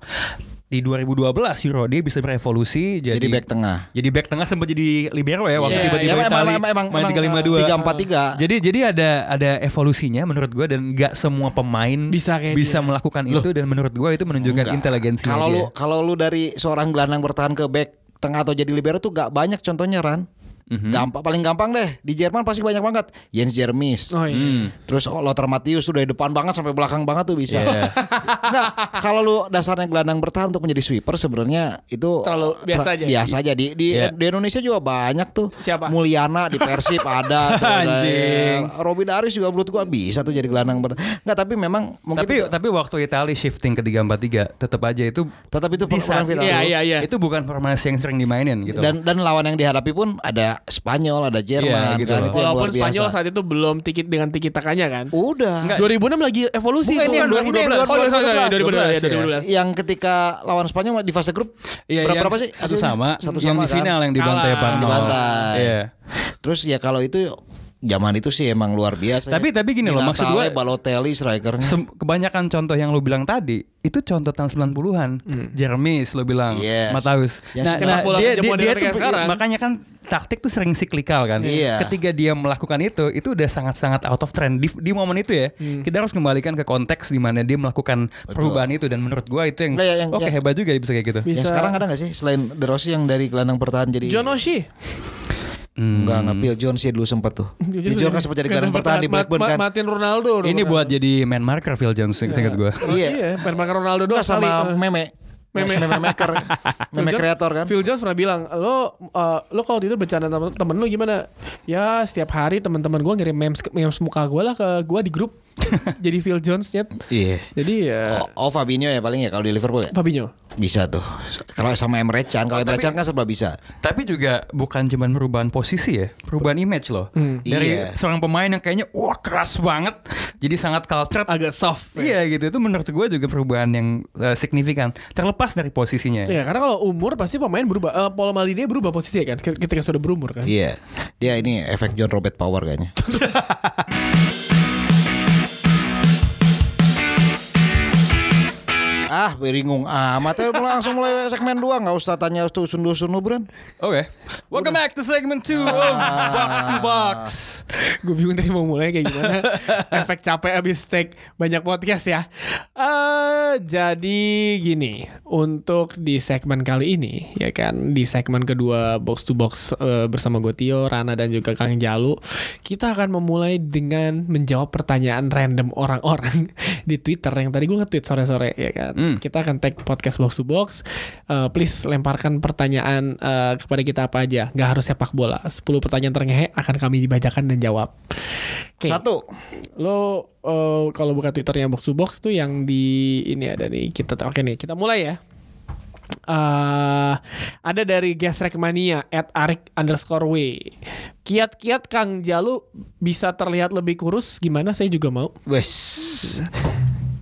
Di 2012 Euro dia bisa berevolusi jadi, Jadi back tengah. Jadi back tengah sempat jadi libero ya waktu Iya, tiba-tiba iya, Itali emang- emang- emang- main emang, eh, 3-5-2. 3-4-3. Jadi jadi ada ada evolusinya menurut gua dan nggak semua pemain Bisa kayak dia. bisa melakukan itu dan menurut gua itu menunjukkan Enggak. inteligensi Kalau dia. lu kalau lu dari seorang gelandang bertahan ke back tengah atau jadi libero tuh gak banyak contohnya Ran. Mhm. Gampang paling gampang deh di Jerman pasti banyak banget Jens Jermis. Oh, iya. Terus oh, Lothar Matthäus tuh dari depan banget sampai belakang banget tuh bisa. Iya. <laughs> nah, kalau lu dasarnya gelandang bertahan untuk menjadi sweeper sebenarnya itu Terlalu biasa aja. Biasa aja di di, Iya. di Indonesia juga banyak tuh. Siapa? Mulyana di <laughs> Persib ada tuh. kan. Anjing. Robin Aris juga menurut gua bisa tuh jadi gelandang bertahan. Enggak, tapi memang mungkin tapi tapi waktu Italia shifting ke 3-4-3 tetap aja itu Tetap itu di saat perang vital. itu, Iya, iya, iya. itu bukan formasi yang sering dimainin gitu. dan dan lawan yang dihadapi pun ada Spanyol, ada Jerman, Iya, gitu kan loh. itu yang Walaupun luar biasa. Spanyol saat itu belum tikit dengan tikit takanya kan. udah. 2006 lagi evolusi Bukan, ini yang dua- ini yang Iya. 2012. Oh, sorry, sorry, 2012. 2012 ya, 2012. Yang ketika lawan Spanyol di fase grup Iya, berapa, yang berapa sih? Satu hasilnya? sama, satu yang sama di final kan? yang dibantai Kalah. 4-0. Dibantai. Iya. Terus ya kalau itu zaman itu sih emang luar biasa. Tapi- tapi gini loh, maksud Natale, gua- Balotelli strikernya. Sem- kebanyakan contoh yang lu bilang tadi itu contoh tahun 90-an. Jermis lu bilang, Yes. Mataus. Yang Nah, sekarang nah, bola dia, pinjam dia, modern dia kayak tuh sekarang. makanya kan taktik tuh sering siklikal kan. Iya. Ketika dia melakukan itu, itu udah sangat-sangat out of trend di, di momen itu ya. Kita harus kembalikan ke konteks di mana dia melakukan perubahan itu dan menurut gua itu yang Nggak, ya, yang- oke yang- hebat juga bisa kayak gitu. Yang Bisa- Ya, sekarang ada gak sih selain De Rossi yang dari gelandang bertahan jadi John <laughs> Oshie. Hmm. Enggak, enggak Phil Jones sih dulu sempat tuh. Phil Jones kan sempat jadi gelandang bertahan di Mat- Blackburn Mat- kan. Martin Ronaldo. Ini Ronaldo. buat jadi man marker Phil Jones seingat gua. Oh, Iya. iya, main makan Ronaldo doang Enggak, sama kali. eh. meme. Meme. meme maker, Phil meme Jones- kreator kan. Phil Jones pernah bilang, lo eh, lo kalau itu bercanda temen, temen lu gimana? Ya setiap hari teman-teman gue ngirim memes memes muka gue lah ke gue di <laughs> grup. Jadi Phil Jones nyet. Iya. Jadi ya Oh, oh, Fabinho ya paling ya kalau di Liverpool ya. Fabinho. Bisa tuh. Kalau sama Emre Can, kalau Emre Can kan serba bisa. Tapi juga bukan cuma perubahan posisi ya, perubahan image loh. Dari Iya. seorang pemain yang kayaknya wah keras banget, jadi sangat cultured. Agak soft. ya. Iya gitu, itu menurut gue juga perubahan yang eh, signifikan. Terlepas dari posisinya. Iya, ya. karena kalau umur pasti pemain berubah. Eh, pola Maldini berubah posisi kan ketika sudah berumur <laughs> kan. Iya. Dia ini efek John Robert Power <laughs> kayaknya. ah, beringung amat ya mulai langsung mulai segmen 2 nggak usah tanya tuh sundu-sundu Bren. Oke. Welcome back to segment 2 of Ah. Box to Box. Gue bingung tadi mau mulai kayak gimana. <laughs> Efek capek abis take banyak podcast ya. eh jadi gini, untuk di segmen kali ini ya kan di segmen kedua box to box eh, bersama gue Tio, Rana dan juga Kang Jalu, kita akan memulai dengan menjawab pertanyaan random orang-orang <laughs> di Twitter yang tadi gue nge-tweet sore-sore ya kan. Kita akan tag podcast box to box. Eh, please lemparkan pertanyaan eh, kepada kita apa aja. Gak harus sepak bola. 10 pertanyaan terngehe akan kami dibacakan dan jawab. Oke. Satu. Lo eh, kalau buka Twitternya box to box tuh yang di ini ada nih kita oke nih kita mulai ya. eh, ada dari Gasrekmania at Arik underscore W. Kiat-kiat Kang Jalu bisa terlihat lebih kurus gimana saya juga mau. Wes.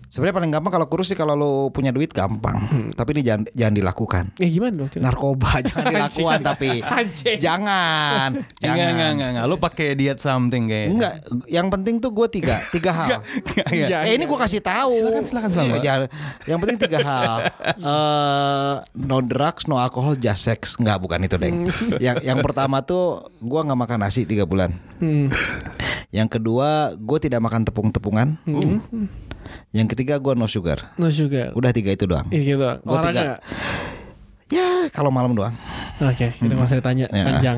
Sebenarnya paling gampang kalau kurus sih kalau lo punya duit gampang. Tapi ini jangan jangan dilakukan. Ya gimana dong? Tina? <laughs> Narkoba jangan dilakukan tapi Anjing. jangan Enggak, enggak, jangan. enggak, enggak. Lu pakai diet something kayaknya. Enggak, yang penting tuh gue tiga tiga hal. Iya. Iya. Eh ini gue kasih tahu. Silakan, silakan, Salma. Iya, jangan. Yang penting tiga hal. <laughs> Eh, no drugs, no alcohol, just sex. Enggak, bukan itu, Deng. Hmm. <laughs> yang yang pertama tuh gue nggak makan nasi tiga bulan. Hmm. Yang kedua, gue tidak makan tepung-tepungan. Hmm. Yang ketiga, gue no sugar. No sugar. Udah tiga itu doang. Iya gitu. Gua Olahraga. Ya, kalau malam doang. Oke, kita nggak usah ditanya Ya. panjang.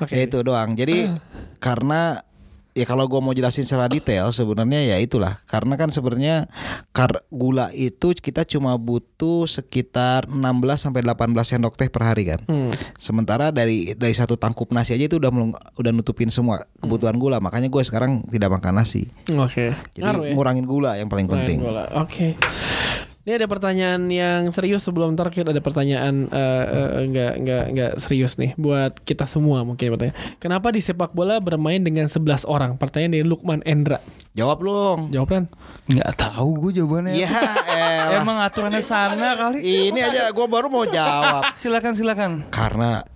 Oke. Ah. Ya itu doang. Jadi karena ya kalau gua mau jelasin secara detail sebenarnya ya itulah. Karena kan sebenarnya kar gula itu kita cuma butuh sekitar 16 sampai 18 sendok teh per hari kan. Hmm. Sementara dari dari satu tangkup nasi aja itu udah melung- udah nutupin semua kebutuhan Hmm. gula. Makanya gue sekarang tidak makan nasi. Oke. Jadi Ngaruh ya? ngurangin gula yang paling Main penting. bola. Oke. Ini ada pertanyaan yang serius sebelum ntar kita ada pertanyaan eh, eh, nggak nggak nggak serius nih buat kita semua mungkin bertanya. Kenapa di sepak bola bermain dengan 11 orang? Pertanyaan dari Lukman Endra. Jawab dong. Jawab Ran. Enggak tahu gue jawabannya. Iya. Ya, elah. Emang aturannya sana kali. ini aja gua baru mau jawab. <laughs> Silakan, silakan. Karena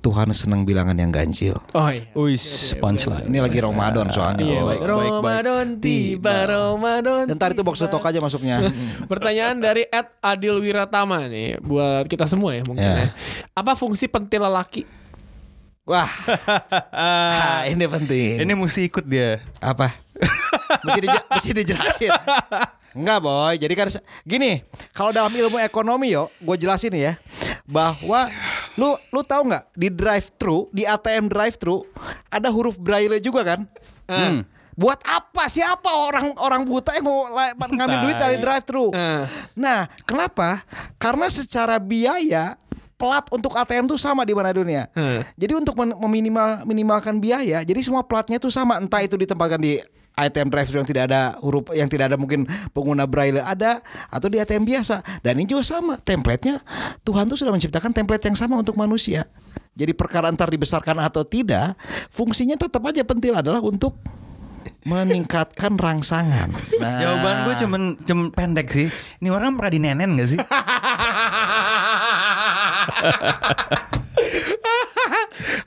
Tuhan senang bilangan yang ganjil. Oh iya. Uis, punchline. Ini lagi Ramadan soalnya. Iya, Oh. baik, Ramadan tiba, Ramadan. Ntar itu box to talk aja masuknya. Pertanyaan dari Ed Adil Wiratama nih buat kita semua ya mungkin ya. Ya. Apa fungsi pentil <laughs> lelaki? Wah, <laughs> ah, ini penting. <laughs> Ini mesti ikut dia. apa? mesti, dije- mesti dijelasin. Enggak boy, jadi kan se- gini, kalau dalam ilmu ekonomi yo, gue jelasin ya bahwa lu lu tahu nggak di drive thru di ATM drive thru ada huruf braille juga kan? Hmm. Buat apa siapa orang orang buta yang mau la- ngambil duit dari drive thru? Eh. Nah, kenapa? Karena secara biaya plat untuk ATM tuh sama di mana dunia. Hmm. Jadi untuk men- meminimal minimalkan biaya, jadi semua platnya tuh sama, entah itu ditempatkan di ATM drive yang tidak ada huruf yang tidak ada mungkin pengguna braille ada atau di ATM biasa. Dan ini juga sama, template-nya Tuhan tuh sudah menciptakan template yang sama untuk manusia. Jadi perkara entar dibesarkan atau tidak, fungsinya tetap aja pentil adalah untuk meningkatkan rangsangan. Nah, Jawaban gue cuman cuman pendek sih. Ini orang pernah dinenen gak sih?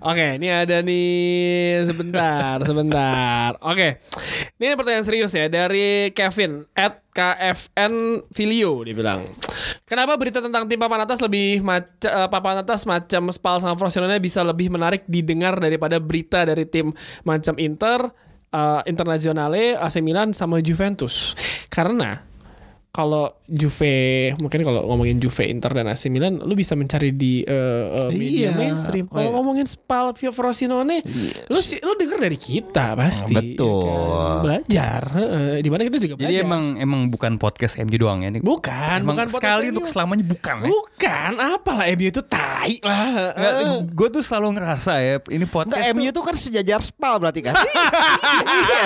Oke, ini ada nih sebentar, sebentar. Oke, ini pertanyaan serius ya dari Kevin at KFN Filio dibilang. Kenapa berita tentang tim papan atas lebih maca, eh, papan atas macam Spal sama Frosinone bisa lebih menarik didengar daripada berita dari tim macam Inter, eh, Internazionale, AC Milan sama Juventus? Karena kalau Juve mungkin kalau ngomongin Juve Inter dan AC Milan lu bisa mencari di eh, eh, media Iya. mainstream kalau Oh, iya. ngomongin Spal Vio Frosinone lu sih lu denger dari kita pasti Betul. ya kan? belajar heeh. di mana kita juga <laughs> Jadi belajar emang emang bukan podcast MU doang ya ini. bukan emang bukan sekali podcast untuk MU. selamanya bukan ya. bukan apalah MU itu tai lah heeh. gue tuh selalu ngerasa ya ini Enggak, podcast MU tuh, itu kan sejajar Spal berarti kan? <laughs> iya,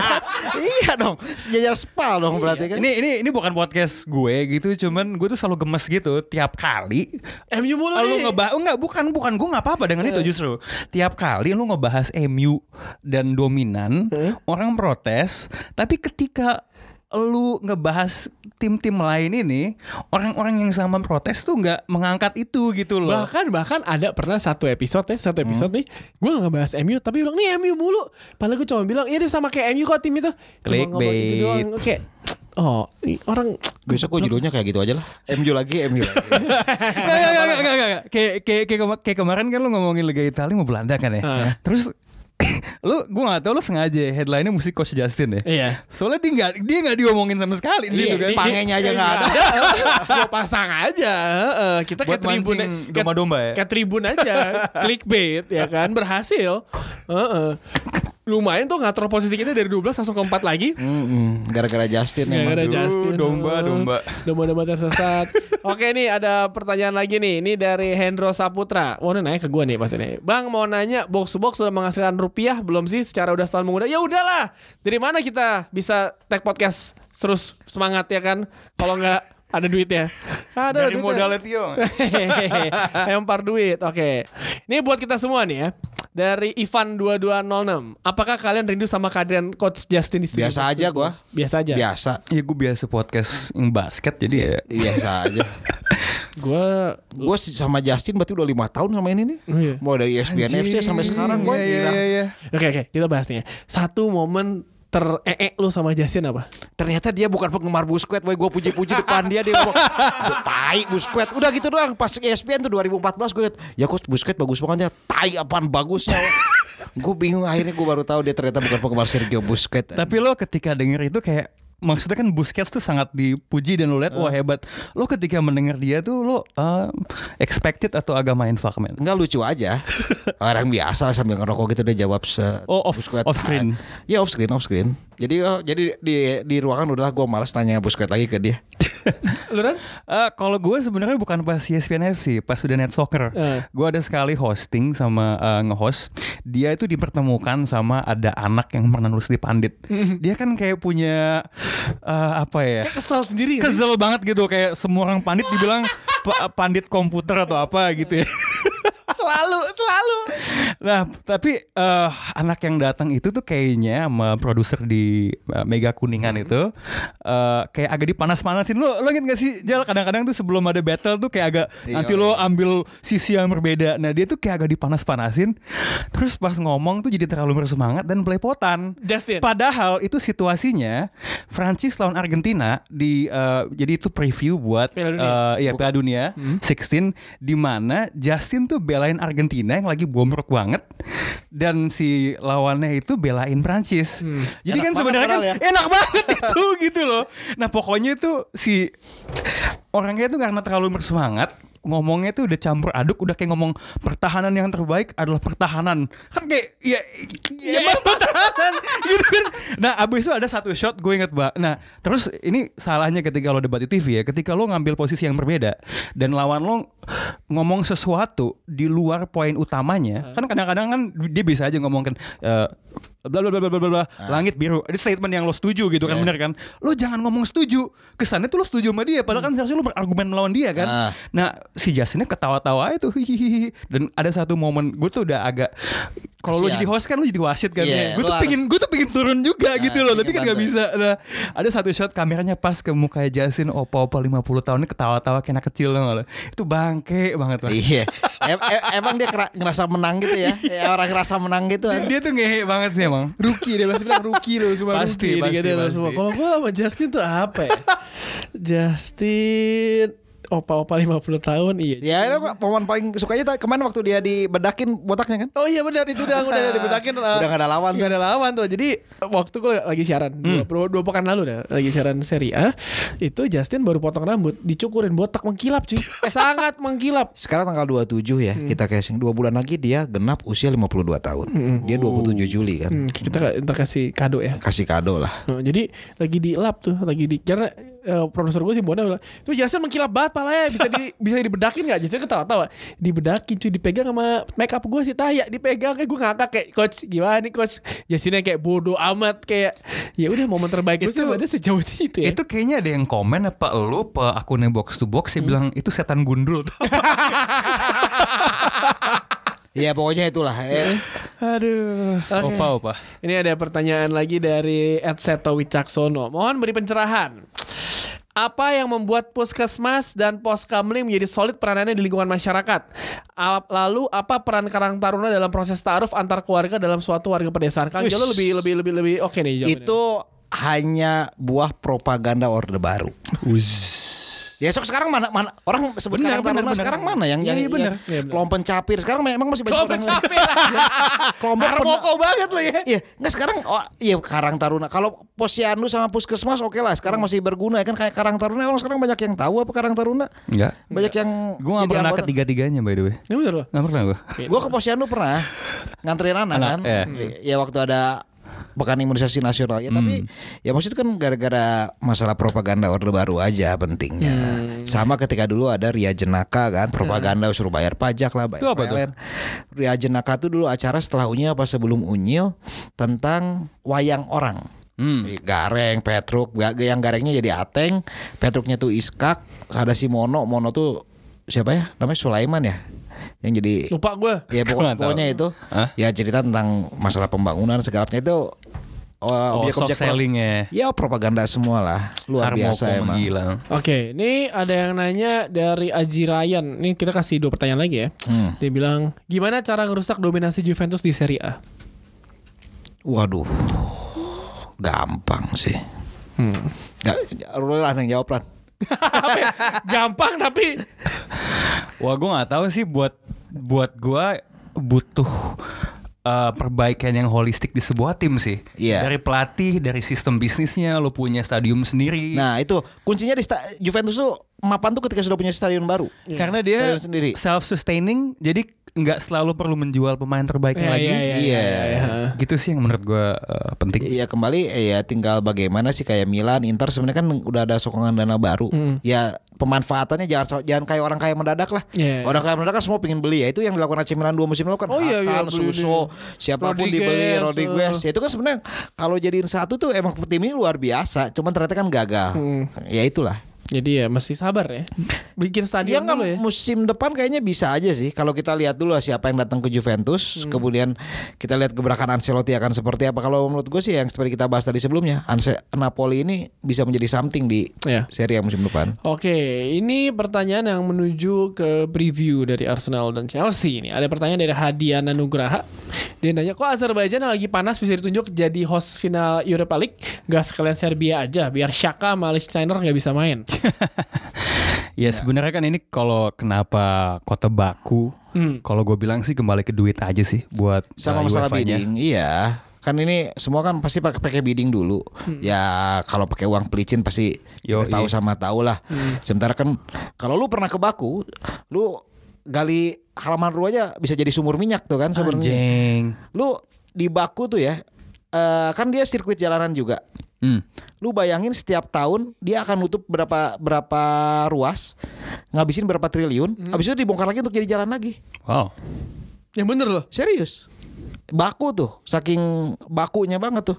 iya dong, sejajar Spal dong berarti kan? ini ini ini bukan podcast gue gitu cuman gue tuh selalu gemes gitu tiap kali MU mulu lu nih Eh. ngebahas oh, enggak bukan bukan gue nggak apa-apa dengan itu justru tiap kali lu ngebahas MU dan dominan Eh. orang protes tapi ketika lu ngebahas tim-tim lain ini orang-orang yang sama protes tuh nggak mengangkat itu gitu loh bahkan bahkan ada pernah satu episode ya satu episode Hmm. nih gue gak ngebahas MU tapi bilang nih MU mulu padahal gue cuma bilang iya dia sama kayak MU kok tim itu cuma ngomong gitu Clickbait. doang oke oh i- orang Besok gue judulnya kayak gitu aja lah. MU lagi, MU <laughs> lagi. Enggak, enggak, enggak, enggak, enggak, enggak. Kayak kayak kayak kema- kayak kemarin kan lu ngomongin Liga Italia mau Belanda kan ya. Heeh. Terus <coughs> lu gua enggak tahu lu sengaja headline-nya mesti coach Justin ya. Iya. Soalnya dia enggak dia enggak diomongin sama sekali di situ kan. Iya, Pangenya aja nggak ada. <laughs> gue Iya. pasang aja heeh. kita Buat kayak tribun mancing kayak- domba-domba ya? kayak tribun aja clickbait ya kan berhasil Heeh. lumayan tuh ngatur posisi kita dari 12 langsung ke 4 lagi Mm-mm, Gara-gara Justin Nggak emang. ada Aduh, Justin. domba, Oh, domba. Domba-domba tersesat. Oke nih ada pertanyaan lagi nih. Ini dari Hendro Saputra. Wah ini nanya ke gue nih pasti nih. Bang mau nanya box to box sudah menghasilkan rupiah belum sih secara udah setahun menggunakan? Ya udahlah. Dari mana kita bisa tag podcast terus semangat ya kan? Kalau nggak ada duitnya. Ada Dari duitnya. modalnya <laughs> Tio. <laughs> Lempar duit. Oke. Ini buat kita semua nih ya. Dari Ivan 2206. Apakah kalian rindu sama kehadiran coach Justin di studio? Biasa aja gua. Iya. Biasa aja. Biasa. Ya gue biasa podcast yang basket jadi ya. Biasa <laughs> aja. Gua gue sama Justin berarti udah lima tahun sama ini nih. Iya. Mau dari E ESPN FC sampai sekarang gue. Oke oke, kita bahas nih ya. Satu momen ter ee lu sama Justin apa? Ternyata dia bukan penggemar Busquets, boy. Gue puji-puji depan dia dia ngomong, "Gua tai Busquets. Udah gitu doang. Pas ESPN tuh 2014 gue liat, ya kok Busquets bagus banget ya. Tai apaan bagusnya. gue bingung akhirnya gue baru tahu dia ternyata bukan penggemar Sergio Busquets. Tapi lo ketika denger itu kayak maksudnya kan Busquets tuh sangat dipuji dan lo lihat Ah. wah hebat. Lo ketika mendengar dia tuh lo uh, expected atau agak main fuck man. Enggak lucu aja. Orang biasa lah sambil ngerokok gitu dia jawab se Oh, off- Busquets. off screen. Ya off screen, off screen. Jadi oh, jadi di di ruangan udahlah gue malas nanya Busquets lagi ke dia. Lu kan? Eh, kalau gue sebenarnya bukan pas E ESPN FC, pas udah net soccer. Eh. Gue ada sekali hosting sama eh, nge-host. Dia itu dipertemukan sama ada anak yang pernah nulis di Pandit. Hmm. Dia kan kayak punya eh, apa ya? Kayak kesel sendiri. ya? Kesel banget gitu kayak semua orang Pandit dibilang pa- Pandit komputer atau apa gitu ya. <laughs> selalu, selalu. Nah, tapi eh, anak yang datang itu tuh kayaknya sama produser di eh, Mega Kuningan itu eh, kayak agak dipanas-panasin. Lo lo inget gak sih Jal kadang-kadang tuh sebelum ada battle tuh kayak agak nanti lo ambil sisi yang berbeda. Nah, dia tuh kayak agak dipanas-panasin. Terus pas ngomong tuh jadi terlalu bersemangat dan belepotan. Justin. Padahal itu situasinya Prancis lawan Argentina di eh, jadi itu preview buat Piala Dunia. Hmm. eh, iya Piala Dunia 16 di mana Justin tuh belain Argentina yang lagi bomrok banget dan si lawannya itu belain Prancis. Jadi Hmm. kan Enak banget sebenarnya kan padahal ya. enak banget <laughs> itu gitu loh. Nah, pokoknya itu si orangnya tuh karena terlalu bersemangat ngomongnya tuh udah campur aduk udah kayak ngomong pertahanan yang terbaik adalah pertahanan kan kayak ya, Iya. ya emang pertahanan <laughs> gitu kan nah abis itu ada satu shot gue inget mbak nah terus ini salahnya ketika lo debat di TV ya ketika lo ngambil posisi yang berbeda dan lawan lo ngomong sesuatu di luar poin utamanya kan kadang-kadang kan dia bisa aja ngomong kan eh, bla bla bla bla bla bla bla, Ah. langit biru ini statement yang lo setuju gitu kan Iya. bener kan lo jangan ngomong setuju kesannya tuh lo setuju sama dia padahal kan seharusnya lo berargumen melawan dia kan Ah. nah si Justinnya ketawa-tawa itu hihihi dan ada satu momen gue tuh udah agak kalau lo Kasian. jadi host kan lo jadi wasit kan Iya, ya gue lo tuh harus- pingin gue tuh pingin turun juga Ah, Nah, gitu loh tapi pingin kan gak bantu. bisa nah ada satu shot kameranya pas ke muka Justin opa-opa 50 tahun ini ketawa-tawa kayak anak kecil loh itu bangke banget lah Iya. Em- em- emang dia kera- ngerasa menang gitu ya? Ya, orang ngerasa menang gitu. dia, dia tuh ngehe banget sih emang Rookie dia pasti bilang rookie loh semua Pasti, rookie pasti, gitu loh pasti. semua. Kalau gua sama Justin tuh apa <laughs> ya? Justin opa-opa 50 tahun iya. Ya, lo kok momen paling sukanya tuh kemarin waktu dia dibedakin botaknya kan? Oh iya benar itu udah <laughs> udah dibutakin Udah nggak ada lawan. Gak kan? eh, ada lawan tuh. Jadi waktu gue lagi siaran dua, dua, dua pekan lalu dah lagi siaran seri A itu Justin baru potong rambut, dicukurin botak mengkilap cuy. Eh, Sangat mengkilap. Sekarang tanggal 27 ya kita casing. Dua bulan lagi dia genap usia 52 tahun. Dia 27 Juli kan. Hmm, kita ntar kasih kado ya. Kasih kado lah. Nah, jadi lagi di lap tuh, lagi di karena eh, produser gue sih Bona bilang, "Tuh Jason mengkilap banget palanya, bisa di <laughs> bisa dibedakin nggak?" Jason ketawa-tawa. Dibedakin cuy, dipegang sama make up gue sih taya, dipegang kayak gue ngakak kayak coach, gimana nih coach? Jasinnya kayak bodoh amat kayak ya udah momen terbaik gue sih Itu- pada sejauh itu Gitu ya. Itu kayaknya ada yang komen apa lu apa akunnya box to box yang Hmm. bilang itu setan gundul. <laughs> Ya pokoknya itulah. Iya, Eh, Aduh. Opa opa. Ini ada pertanyaan lagi dari Edseto Wicaksono. Mohon beri pencerahan. Apa yang membuat puskesmas dan poskamling menjadi solid peranannya di lingkungan masyarakat? Ap- Lalu apa peran Karang Taruna dalam proses taaruf antar keluarga dalam suatu warga pedesaan? Kang Wis. Jalo lebih lebih lebih lebih oke iya, nih jawabannya. <laughs> itu hanya buah propaganda Orde Baru. Ya sok sekarang mana mana orang sebut Benar, sekarang benar, benar. sekarang mana yang Iya, yang, iya, benar. Iya, yang benar. kelompok capir sekarang memang masih banyak Kelompok orang- capir. kelompok pen- Harmoko banget lo ya. Iya, enggak sekarang oh, iya Karang Taruna. Kalau Posyandu sama Puskesmas oke lah, sekarang masih berguna ya kan kayak Karang Taruna orang sekarang banyak yang tahu apa Karang Taruna? Enggak. Banyak yang Gue gak jadi pernah anggota. ketiga-tiganya by the way. Ini bener loh. Gak pernah gue. Gue ke posyandu pernah nganterin anak, Gitu. Anak, kan. iya. Ya waktu ada pekan imunisasi nasional ya tapi Hmm. ya maksudnya kan gara-gara masalah propaganda orde baru aja pentingnya Hmm. sama ketika dulu ada Ria Jenaka kan propaganda suruh bayar pajak lah bayar Itu apa tuh? PLN. Ria Jenaka tuh dulu acara setelah unyil apa sebelum unyil tentang wayang orang Hmm. Gareng, Petruk, Ga- yang Garengnya jadi Ateng, Petruknya tuh Iskak, ada si Mono, Mono tuh siapa ya? Namanya Sulaiman ya. Yang jadi Lupa gue. ya pokok- Gua nggak tahu. pokoknya itu Hah? ya cerita tentang masalah pembangunan segalanya itu uh, Oh, soft objek-objek selling ya. ya propaganda semua lah luar Harmoko biasa emang menggila. Oke, ini ada yang nanya dari Aji Ryan. Ini kita kasih dua pertanyaan lagi ya. Hmm. Dia bilang, gimana cara ngerusak dominasi Juventus di Serie A? waduh gampang sih Hmm. Gak, lu lah yang jawab lah Apa ya? Gampang tapi Wah, gue nggak tahu sih buat buat gue butuh eh, perbaikan yang holistik di sebuah tim sih. Iya. Dari pelatih, dari sistem bisnisnya, lo punya stadium sendiri. Nah itu kuncinya di sta- Juventus tuh mapan tuh ketika sudah punya stadion baru. Karena dia Stadion sendiri. self sustaining, jadi nggak selalu perlu menjual pemain terbaiknya Ya, lagi. ya, ya, Iya. ya, ya. Gitu sih yang menurut gue eh, penting. Ya kembali eh, ya tinggal bagaimana sih kayak Milan, Inter sebenarnya kan udah ada sokongan dana baru. Hmm. Ya pemanfaatannya jangan jangan kayak orang kaya mendadak lah. Iya. Orang kaya mendadak kan semua pengen beli ya itu yang dilakukan AC Milan dua musim lalu kan. Oh, iya, iya, Hakan, beli Suso, siapapun Rodriguez, dibeli Rodriguez. eh. Ya, itu kan sebenarnya kalau jadiin satu tuh emang tim ini luar biasa. Cuman ternyata kan gagal. Hmm. Ya itulah. Jadi ya mesti sabar ya. Bikin Dia stadion nggak dulu ya. musim depan kayaknya bisa aja sih kalau kita lihat dulu lah siapa yang datang ke Juventus Hmm. kemudian kita lihat gebrakan Ancelotti akan seperti apa kalau menurut gue sih yang seperti kita bahas tadi sebelumnya Anse- Napoli ini bisa menjadi something di Iya. seri yang musim depan Oke, ini pertanyaan yang menuju ke preview dari Arsenal dan Chelsea ini. Ada pertanyaan dari Hadiana Nugraha. Dia nanya, kok Azerbaijan yang lagi panas bisa ditunjuk jadi host final Europa League? Gak sekalian Serbia aja, biar Shaka sama Steiner nggak bisa <laughs> main. Ya iya. sebenarnya kan ini kalau kenapa kota Baku, Hmm. kalau gue bilang sih kembali ke duit aja sih buat sama eh, masalah UEFA-nya. bidding iya kan ini semua kan pasti pakai pakai bidding dulu Hmm. ya kalau pakai uang pelicin pasti Yo, kita tahu iya. sama tahu lah Hmm. sementara kan kalau lu pernah ke Baku lu gali halaman lu aja bisa jadi sumur minyak tuh kan sebenarnya Anjing. lu di Baku tuh ya eh, kan dia sirkuit jalanan juga Hmm. lu bayangin setiap tahun dia akan nutup berapa berapa ruas ngabisin berapa triliun habis itu dibongkar lagi untuk jadi jalan lagi Wow. yang Ya bener loh. serius Baku tuh saking bakunya banget <laughs> tuh.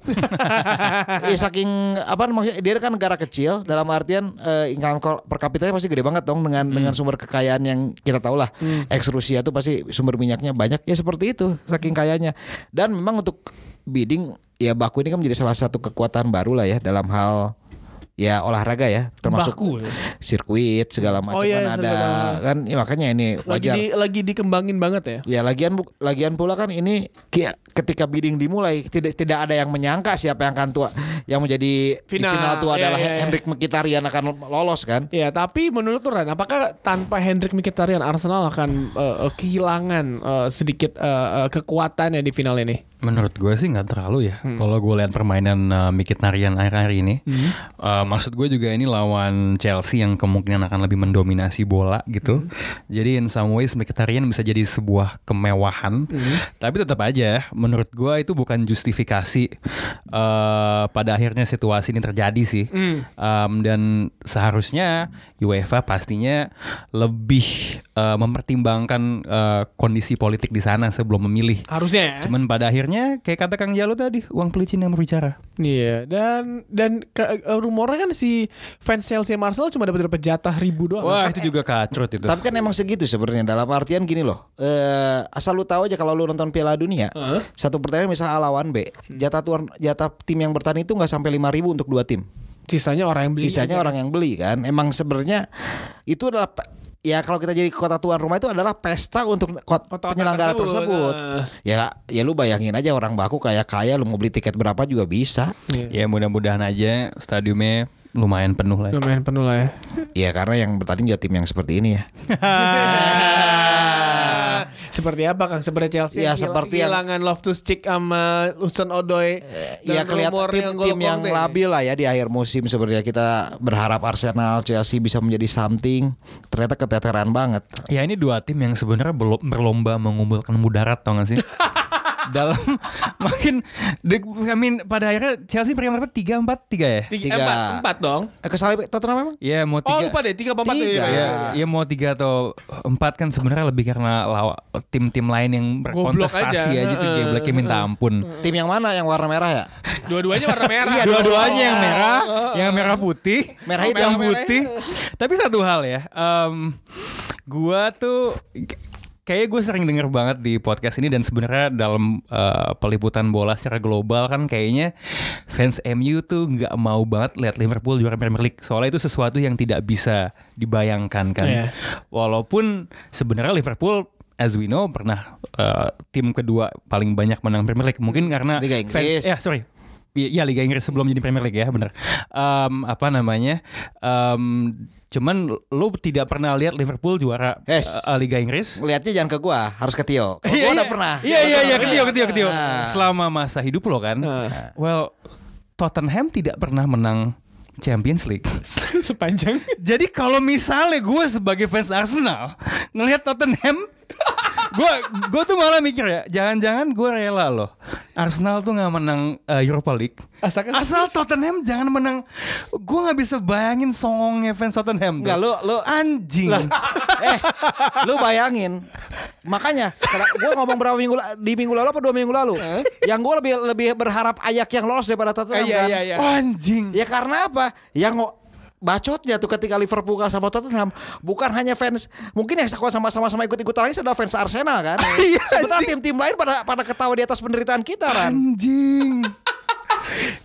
ya saking apa maksudnya dia kan negara kecil dalam artian eh, income cor- per kapitanya pasti gede banget dong Hmm. dengan dengan sumber kekayaan yang kita tahu lah. Ex Rusia tuh pasti sumber minyaknya banyak ya seperti itu saking kayanya. Dan memang untuk bidding ya Baku ini kan menjadi salah satu kekuatan baru lah ya dalam hal ya olahraga ya termasuk Baku. sirkuit segala macam Oh, iya, kan ada segala- kan ya makanya ini Lagi, wajar di- lagi dikembangin banget ya. Ya lagian bu- lagian pula kan ini ki- ketika bidding dimulai tidak tidak ada yang menyangka siapa yang akan tua yang menjadi Final, di final tua iya, adalah iya, iya. Hendrik Mkhitaryan akan lolos kan? Ya, tapi menurut Turan, apakah tanpa Hendrik Mkhitaryan Arsenal akan eh, eh, kehilangan eh, sedikit eh, eh, kekuatannya di final ini? Menurut gue sih nggak terlalu ya. Kalau gue lihat permainan uh, Mkhitaryan akhir-akhir ini, uh, maksud gue juga ini lawan Chelsea yang kemungkinan akan lebih mendominasi bola gitu. Jadi in some ways Mkhitaryan bisa jadi sebuah kemewahan. Tapi tetap aja, menurut gue itu bukan justifikasi uh, pada akhirnya situasi ini terjadi sih. Um, dan seharusnya UEFA pastinya lebih uh, mempertimbangkan uh, kondisi politik di sana sebelum memilih. Harusnya ya. Cuman pada akhirnya kayak kata Kang Jalo tadi, uang pelicin yang berbicara. Iya, dan dan ke- eh, rumornya kan si fans Chelsea sama Arsenal cuma dapat dapat jatah ribu doang. Wah, itu juga kacrut itu. Tapi kan emang segitu sebenarnya dalam artian gini loh. Eh asal lu tahu aja kalau lu nonton Piala Dunia, satu pertandingan misal A lawan B, jatah tuan jatah tim yang bertanding itu nggak sampai 5000 untuk dua tim. Sisanya orang yang beli. Sisanya orang yang beli kan. Emang sebenarnya itu adalah pe- ya kalau kita jadi kota tuan rumah itu adalah pesta untuk kot- Kota-kota penyelenggara tersebut, tersebut. nah. Ya ya lu bayangin aja orang baku kayak kaya lu mau beli tiket berapa juga bisa. Iya. Ya mudah-mudahan aja stadiumnya lumayan penuh Iya. lah. Lumayan penuh lah ya. Ya karena yang bertanding ya tim yang seperti ini ya. Ah. Seperti apa Kang? Seperti Chelsea Ya, yang seperti yang- kehilangan Loftus Cheek sama Hudson Odoi. Ya kelihatan tim, tim yang labil lah ya di akhir musim sebenarnya kita berharap Arsenal Chelsea bisa menjadi something. Ternyata keteteran banget. Ya ini dua tim yang sebenarnya belo- berlomba mengumpulkan mudarat tau gak sih? <laughs> dalam <laughs> makin de, I mean, pada akhirnya Chelsea peringkat berapa? Tiga empat tiga ya? Tiga, Tiga. empat, empat dong. Eh, Kesalip Tottenham emang? Ya mau Oh tiga. lupa deh tiga apa empat Tiga. ya, ya. Ya mau tiga atau empat kan sebenarnya lebih karena lawa- tim-tim lain yang Goblok aja. berkontestasi aja, tuh Heeh. Gebleknya minta ampun. Tim yang mana yang warna merah ya? Dua-duanya warna merah. Iya, Dua-duanya yang merah, yang merah putih, Merah yang hitam. putih. Tapi satu hal ya, em, gua tuh kayaknya gue sering denger banget di podcast ini dan sebenarnya dalam eh, peliputan bola secara global kan kayaknya fans MU tuh nggak mau banget lihat Liverpool juara Premier League soalnya itu sesuatu yang tidak bisa dibayangkan kan. Iya. Walaupun sebenarnya Liverpool as we know pernah eh, tim kedua paling banyak menang Premier League mungkin karena Liga Inggris. ya sorry Iya ya, Liga Inggris sebelum jadi Premier League ya benar. Em, apa namanya? Em, cuman lo tidak pernah lihat Liverpool juara Yes. eh, Liga Inggris? Lihatnya jangan ke gua, harus ke Tio. Kalau gua iya. udah pernah. Iya iya iya ketio ketio ketio. Ah. Selama masa hidup lo kan. Ah. Well Tottenham tidak pernah menang Champions League. Sepanjang Jadi kalau misalnya gue sebagai fans Arsenal ngelihat <laughs> Tottenham, gue gue tuh malah mikir ya, jangan-jangan gue rela loh. Arsenal tuh nggak menang eh, Europa League. Asalkan- Asal Tottenham jangan menang. Gue nggak bisa bayangin songongnya fans Tottenham. tuh. Enggak lu lu anjing. Lah, <laughs> eh, lu bayangin. Makanya, kalau gua ngomong berapa minggu la- di minggu lalu apa dua minggu lalu, yang gua lebih lebih berharap ayak yang lolos daripada Tottenham Iya, kan. iya, iya. Anjing. Ya karena apa? Yang ngo- bacotnya tuh ketika Liverpool kalah sama Tottenham bukan hanya fans mungkin yang sekuat sama-sama sama ikut-ikut nangis adalah fans Arsenal kan. <laughs> Iya, Sementara anjing. tim-tim lain pada pada ketawa di atas penderitaan kita kan. Anjing. <laughs>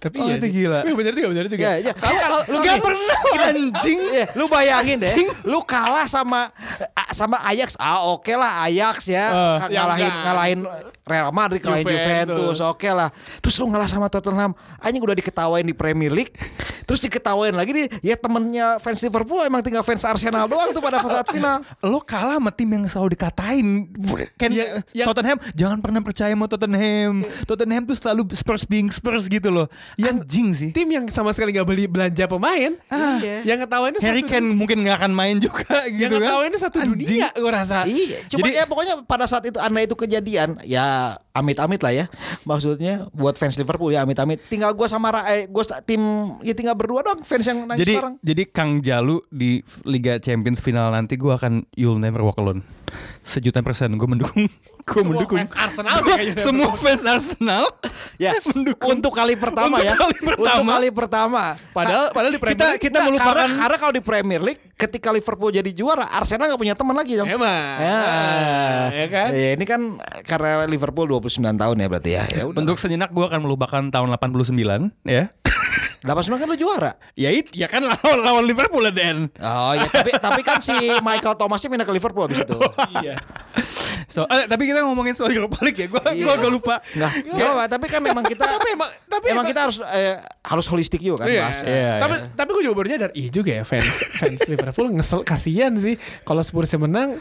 Tapi Oh, iya itu sih. gila. Iya, bener juga, bener juga. Ya, ya. Lu, kan- lu gak pernah, anjing. Iya. Iya, lu bayangin deh, lu kalah sama a- sama Ajax. Ah, oke lah Ajax Eh, ya. Ka- ya ngalahin enggak. ngalahin Real Madrid, ngalahin Juventus. Juventus, oke lah. Terus lu ngalah sama Tottenham. Anjing udah diketawain di Premier League. Terus diketawain lagi nih, ya temennya fans Liverpool emang tinggal fans Arsenal doang tuh pada saat <laughs> final. Lo kalah sama tim yang selalu dikatain kan Iya, iya. Tottenham jangan pernah percaya sama Tottenham. Tottenham tuh selalu Spurs being Spurs gitu loh. Anjing sih. Tim yang sama sekali gak beli belanja pemain. Iya. Yang ketahuannya Harry satu Kane mungkin nggak akan main juga Yang gitu kan. ketahuannya satu Anjing. dunia gue rasa. Iya, cuma Jadi- ya pokoknya pada saat itu anda itu kejadian, ya amit-amit lah ya. Maksudnya buat fans Liverpool ya amit-amit. Tinggal gua sama Ra- eh, gua sta- tim ya tinggal berdua doang fans yang nangis Jadi sekarang. jadi Kang Jalu di Liga Champions final nanti gue akan You'll Never Walk Alone. Sejuta persen gue <laughs> mendukung. Gue Semua mendukung. fans Arsenal Gua- kayaknya. semua fans <laughs> Arsenal. <laughs> Ya, mendukung. untuk kali pertama Untuk ya. kali Untuk pertama. kali pertama. Padahal padahal di Premier Kita- League- kita Nggak, melupakan- karena, karena kalau di Premier League ketika Liverpool jadi juara, Arsenal nggak punya teman lagi dong. Emang. Ya, Ya kan? Ya, ini kan karena Liverpool 29 tahun ya berarti ya. Ya udah. Untuk sejenak gue akan melupakan tahun 89 ya. 89 kan lu juara. <coughs> ya itu ya kan lawan, lawan Liverpool dan Oh ya, <laughs> tapi tapi kan si Michael Thomasnya pindah ke Liverpool habis itu. Iya. So, eh, tapi kita ngomongin soal Europa League ya. Gua gua agak lupa. <laughs> Nggak, nggak apa-apa, tapi kan memang kita tapi emang tapi emang kita harus eh, harus holistik juga kan Iya. bahas. Iya, tapi tapi gue juga baru nyadar iya juga ya fans fans Liverpool ngesel kasihan sih kalau Spurs menang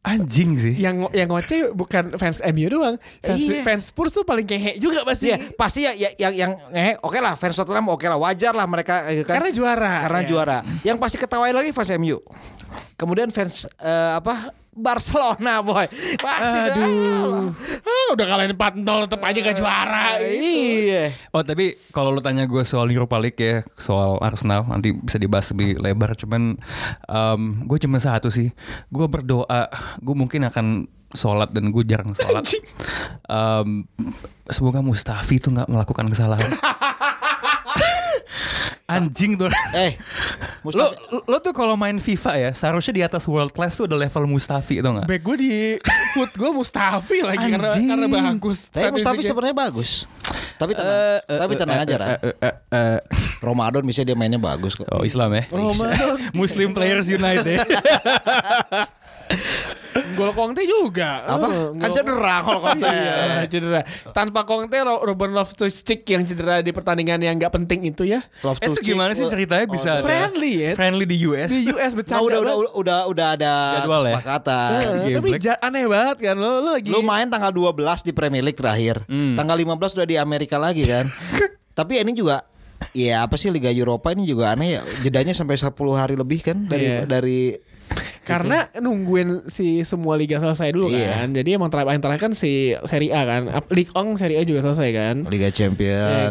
Anjing sih. yang ngo- yang ngoceh bukan fans MU doang fans, Iya. fans Spurs tuh paling kehe juga pasti Iya, pasti ya, ya- yang yang eh, oke lah fans Tottenham oke lah wajar lah mereka eh, kan. karena juara karena Iya. juara. Yang pasti ketawain lagi fans MU. Kemudian fans eh, apa Barcelona boy pasti tuh, alah. Ah, udah kalian 4-0 tetap aja gak juara Iya. Oh tapi kalau lu tanya gue soal Europa League ya soal Arsenal nanti bisa dibahas lebih lebar. Cuman gue cuma satu sih. Gue berdoa. Gue mungkin akan sholat dan gue jarang sholat. Em, semoga Mustafi tuh nggak melakukan kesalahan. Anjing tuh. Eh, Lo, Mustafi, lo tuh kalau main FIFA ya seharusnya di atas world class tuh ada level Mustafi tau nggak? Back gue di foot gue Mustafi lagi karena Anjing. karena bagus. tapi Mustafi Statistiknya. sebenarnya bagus. Tapi Eh, tenang, tapi tenang aja lah. Romadon misalnya dia mainnya bagus kok. Oh Islam ya? Ramadan. Muslim Players United. Gol Kongte juga. <laughs> Oh, Apa? Eh, Kan gol- cedera kalau konten. Iya, cedera. Tanpa Kongte Ro- Ruben Loftus-Cheek yang cedera di pertandingan yang nggak penting <laughs> itu ya. Love Eh, to itu gimana sih ceritanya bisa ada- friendly ya. friendly di US? Di US Nah, bercanda. udah, udah, banget. udah, udah, udah ada Jadwal ya? kesepakatan. Eh, Game tapi Black. ja- aneh banget kan lo, lo lagi. Lu main tanggal 12 di Premier League terakhir. Hmm. Tanggal 15 udah di Amerika lagi <laughs> kan. Tapi ini juga ya apa sih Liga Eropa ini juga aneh ya. Jedanya sampai 10 hari lebih kan dari Iya. dari Karena nungguin si semua liga selesai dulu gitu. Iya. kan. Jadi emang terakhir yang terakhir kan si Serie A kan. Ap- League Ong Serie A juga selesai kan. Liga Champion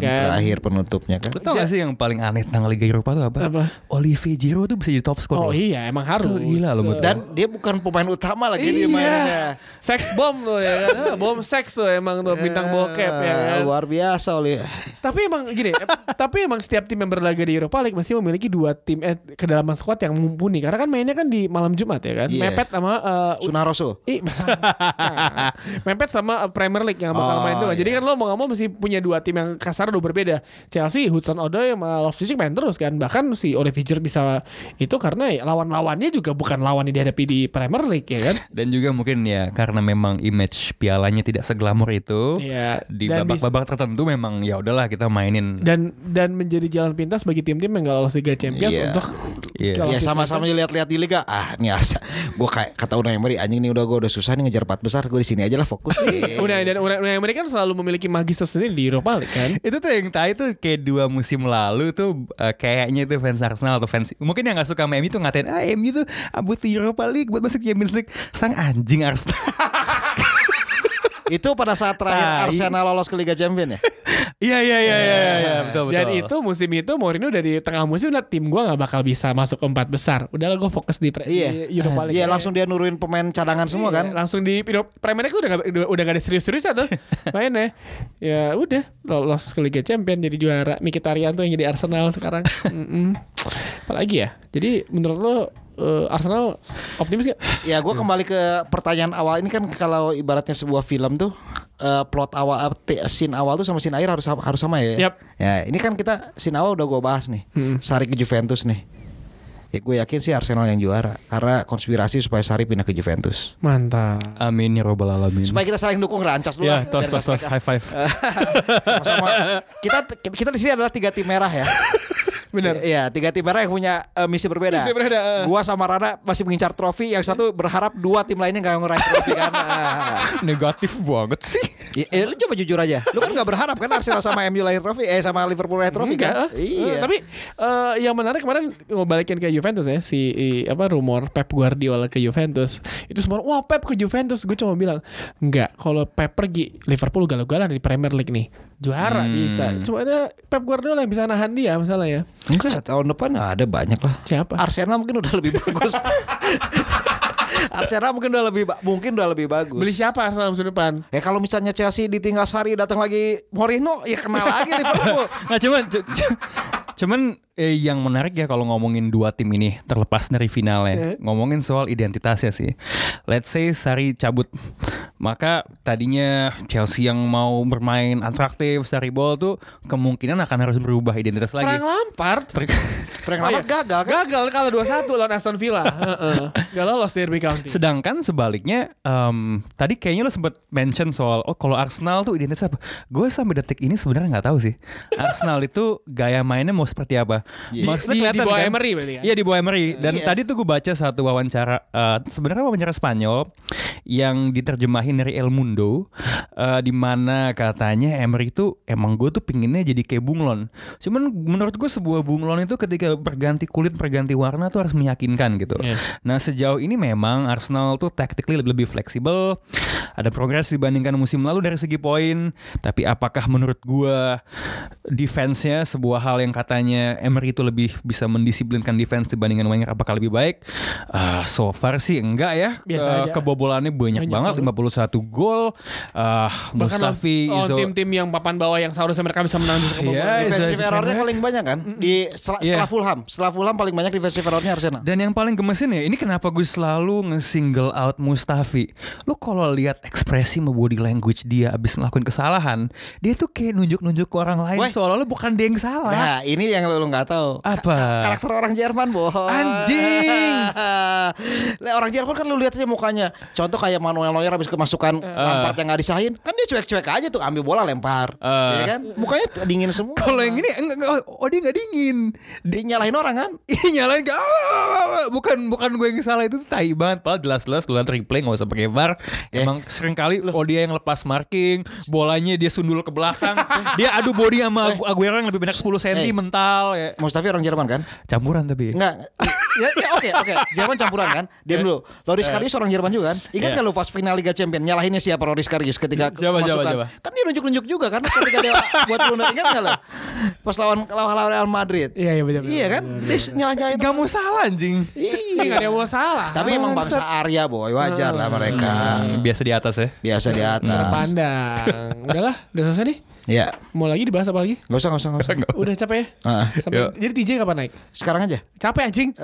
Iya kan? terakhir penutupnya kan. Lu tau gak sih yang paling aneh tentang Liga Eropa tuh apa? Apa? Olivier Giroud tuh bisa jadi top scorer. Oh iya, emang harus. Tuh, gila lo, Mut. Dan dia bukan pemain utama lagi Iya. dia mainnya. Sex bomb tuh ya kan. Bom seks tuh emang tuh bintang bokep ya Eh, kan. Luar biasa oleh tapi emang gini, eh, tapi emang setiap tim yang berlaga di Europa League masih memiliki dua tim eh kedalaman squad yang mumpuni karena kan mainnya kan di malam Jumat ya kan. Iya. Mepet sama eh, U- Sunaroso. Ih, <laughs> bukan. Mepet sama uh, Premier League yang bakal Oh, main tuh. Jadi iya. kan lo mau gak mau mesti punya dua tim yang kasar udah berbeda. Chelsea, Hudson Odoi sama Loftus-Cheek main terus kan. Bahkan si Oliver Giroud bisa itu karena ya lawan-lawannya juga bukan lawan yang dihadapi di Premier League ya kan. Dan juga mungkin ya karena memang image pialanya tidak seglamor itu. Iya. Di Dan babak-babak tertentu memang ya udahlah kita mainin. Dan dan menjadi jalan pintas bagi tim-tim yang gak lolos Liga Champions Iya. untuk Iya. kalau Ya tim sama-sama lihat-lihat di liga. Ah, ini <laughs> asa. Gue kayak kata Unai Emery anjing nih udah gue udah susah nih ngejar empat besar. Gue di sini aja lah <laughs> fokus. Unai dan Unai, Unai Emery kan selalu memiliki magis tersendiri di Europa League kan. itu tuh yang tai tuh kayak dua musim lalu tuh eh, kayaknya tuh fans Arsenal atau fans mungkin yang nggak suka sama MU tuh ngatain ah MU tuh abut di Europa League buat masuk Champions League sang anjing Arsenal Itu pada saat Tai. terakhir Arsenal lolos ke Liga Champions ya. iya iya iya iya <laughs> iya, betul betul Dan itu musim itu Mourinho dari tengah musim lihat tim gue nggak bakal bisa masuk ke empat besar. Udahlah gue fokus di, pre- Iya. di Europa League. ya. Iya, Iya langsung dia nuruin pemain cadangan semua kan. Langsung di Euro- Premier League udah gak, udah, udah gak ada serius-seriusnya <laughs> tuh mainnya. Ya udah lolos ke Liga Champions jadi juara. Mkhitaryan tuh yang jadi Arsenal <laughs> sekarang. Mm-mm. Apalagi ya. Jadi menurut lo eh, Arsenal optimis gak? Ya gue kembali ke pertanyaan awal ini kan kalau ibaratnya sebuah film tuh eh, plot awal apa, te- scene awal tuh sama scene akhir harus sama, harus sama ya. Yap. Ya ini kan kita scene awal udah gue bahas nih. Sari ke Juventus nih. Ya gue yakin sih Arsenal yang juara karena konspirasi supaya Sari pindah ke Juventus. Mantap. amin ya robbal alamin Supaya kita saling dukung rancas dulu ya lah, tos biar tos nggak tos high five <laughs> sama-sama. Kita kita di sini adalah tiga tim merah ya. Bener. Iya, tiga tim merah yang punya eh, misi berbeda. Misi berbeda, eh. Gua sama Rana masih mengincar trofi, yang satu berharap dua tim lainnya nggak ngeraih trofi <laughs> kan. Ah. negatif banget sih Ya, eh, lu coba jujur aja. Lu kan gak berharap kan Arsenal sama MU lahir trofi, eh sama Liverpool lahir trofi kan? Enggak, eh. Iya. Eh, tapi eh, yang menarik kemarin ngebalikin ke Juventus ya si i- apa rumor Pep Guardiola ke Juventus. Itu semua wah Pep ke Juventus. Gue cuma bilang enggak. Kalau Pep pergi Liverpool galau-galan di Premier League nih juara Hmm. bisa. Cuma ada Pep Guardiola yang bisa nahan dia misalnya ya. enggak tahun depan ada banyak lah. Siapa? Arsenal mungkin udah lebih <laughs> bagus. Arsenal mungkin udah lebih ba- mungkin udah lebih bagus. Beli siapa Arsenal musim depan? Ya kalau misalnya Chelsea ditinggal Sari datang lagi Mourinho ya kenal lagi Liverpool. nah cuman cu- cu- cuman eh, yang menarik ya kalau ngomongin dua tim ini terlepas dari finalnya ngomongin soal identitasnya sih let's say Sari cabut maka tadinya Chelsea yang mau bermain atraktif Sari ball tuh kemungkinan akan harus berubah identitas lagi Frank Lampard. Ter- Frank Oh, iya. Lampard gagal kan? Gagal kalah 2-1 lawan Aston <laughs> Villa. Heeh. Gak lolos Derby County. Sedangkan sebaliknya em, tadi kayaknya lo sempat mention soal oh kalau Arsenal tuh identitas apa? Gue sampai detik ini sebenarnya nggak tahu sih. Arsenal itu gaya mainnya mau seperti apa? Maksudnya Di- di kelihatan bawah kan? Emery berarti kan? Iya di bawah Emery. Dan tadi tuh gue baca satu wawancara eh, sebenarnya wawancara Spanyol yang diterjemahin dari El Mundo eh, di mana katanya Emery itu emang gue tuh pinginnya jadi kayak bunglon. Cuman menurut gue sebuah bunglon itu ketika berganti kulit berganti warna tuh harus meyakinkan gitu. Iya. Nah sejauh ini memang Arsenal tuh tactically lebih, lebih fleksibel, ada progres dibandingkan musim lalu dari segi poin. Tapi apakah menurut gua defense-nya sebuah hal yang katanya Emery itu lebih bisa mendisiplinkan defense dibandingkan Wenger apakah lebih baik? Ah, so far sih enggak ya. Biasa Eh, aja. Kebobolannya banyak, Banyak banget, 51 gol. Ah, Mustafi, lawan- Izo- lawan tim-tim yang papan bawah yang seharusnya mereka bisa menang justru Iya, kebobolan. Defensive Defensive errornya error. paling banyak kan? Di setelah, setelah Iya. Fulham, setelah Fulham paling banyak defensive errornya Arsenal. Dan yang paling gemesin ya, ini kenapa gue selalu nge-single out Mustafi. Lu kalau lihat ekspresi sama body language dia abis ngelakuin kesalahan, dia tuh kayak nunjuk-nunjuk ke orang lain Weh. seolah-olah bukan dia yang salah. Nah, ini yang lu nggak tahu. Apa? Karakter orang Jerman, bohong. Ah. Anjing. <laughs> Lah orang Jerman kan lu lihat aja mukanya. Contoh kayak Manuel Neuer habis kemasukan Lampard yang nggak disahin, kan dia cuek-cuek aja tuh ambil bola lempar. Eh. Ya kan? Mukanya tuh dingin semua. Kalau yang ini enggak, enggak, oh dia nggak dingin. <laughs> Dia nyalahin orang kan? Ih nyalain ke "Ah, bukan bukan gue yang salah itu tuh tai banget Eh. padahal jelas-jelas lu lihat replay nggak usah pakai VAR emang sering kali oh dia yang lepas marking bolanya dia sundul ke <laughs> belakang dia adu body sama Agu- Aguero yang lebih banyak 10 cm Eh. mental ya Mustafi orang Jerman kan? campuran tapi Enggak. ya, ya, oke, oke. Jerman campuran kan? Ya. Diam dulu. Loris Karius orang Jerman juga kan? Ingat Iya. nggak lu pas final Liga Champions nyalahinnya siapa Loris Karius ketika Coba, coba, kemasukan? coba. Kan dia nunjuk-nunjuk juga kan ketika dia <laughs> buat blunder ingat nggak lo? Pas lawan lawan lawan Real Madrid. Iya, iya, benar, benar, Iya kan? Dia nyala-nyalain. Gak mau salah anjing Tapi Iya. nggak ada yang mau salah. Tapi emang bangsa Arya boy, Ah. wajar lah mereka. Biasa di atas ya Biasa di atas. <laughs> pandang. Udahlah, udah selesai nih. Ya. Mau lagi dibahas apa lagi? Nggak usah, nggak usah, <laughs> nggak usah. Udah capek ya? Ah, Sampai- jadi TJ kapan naik? Oh. sekarang aja. Capek anjing.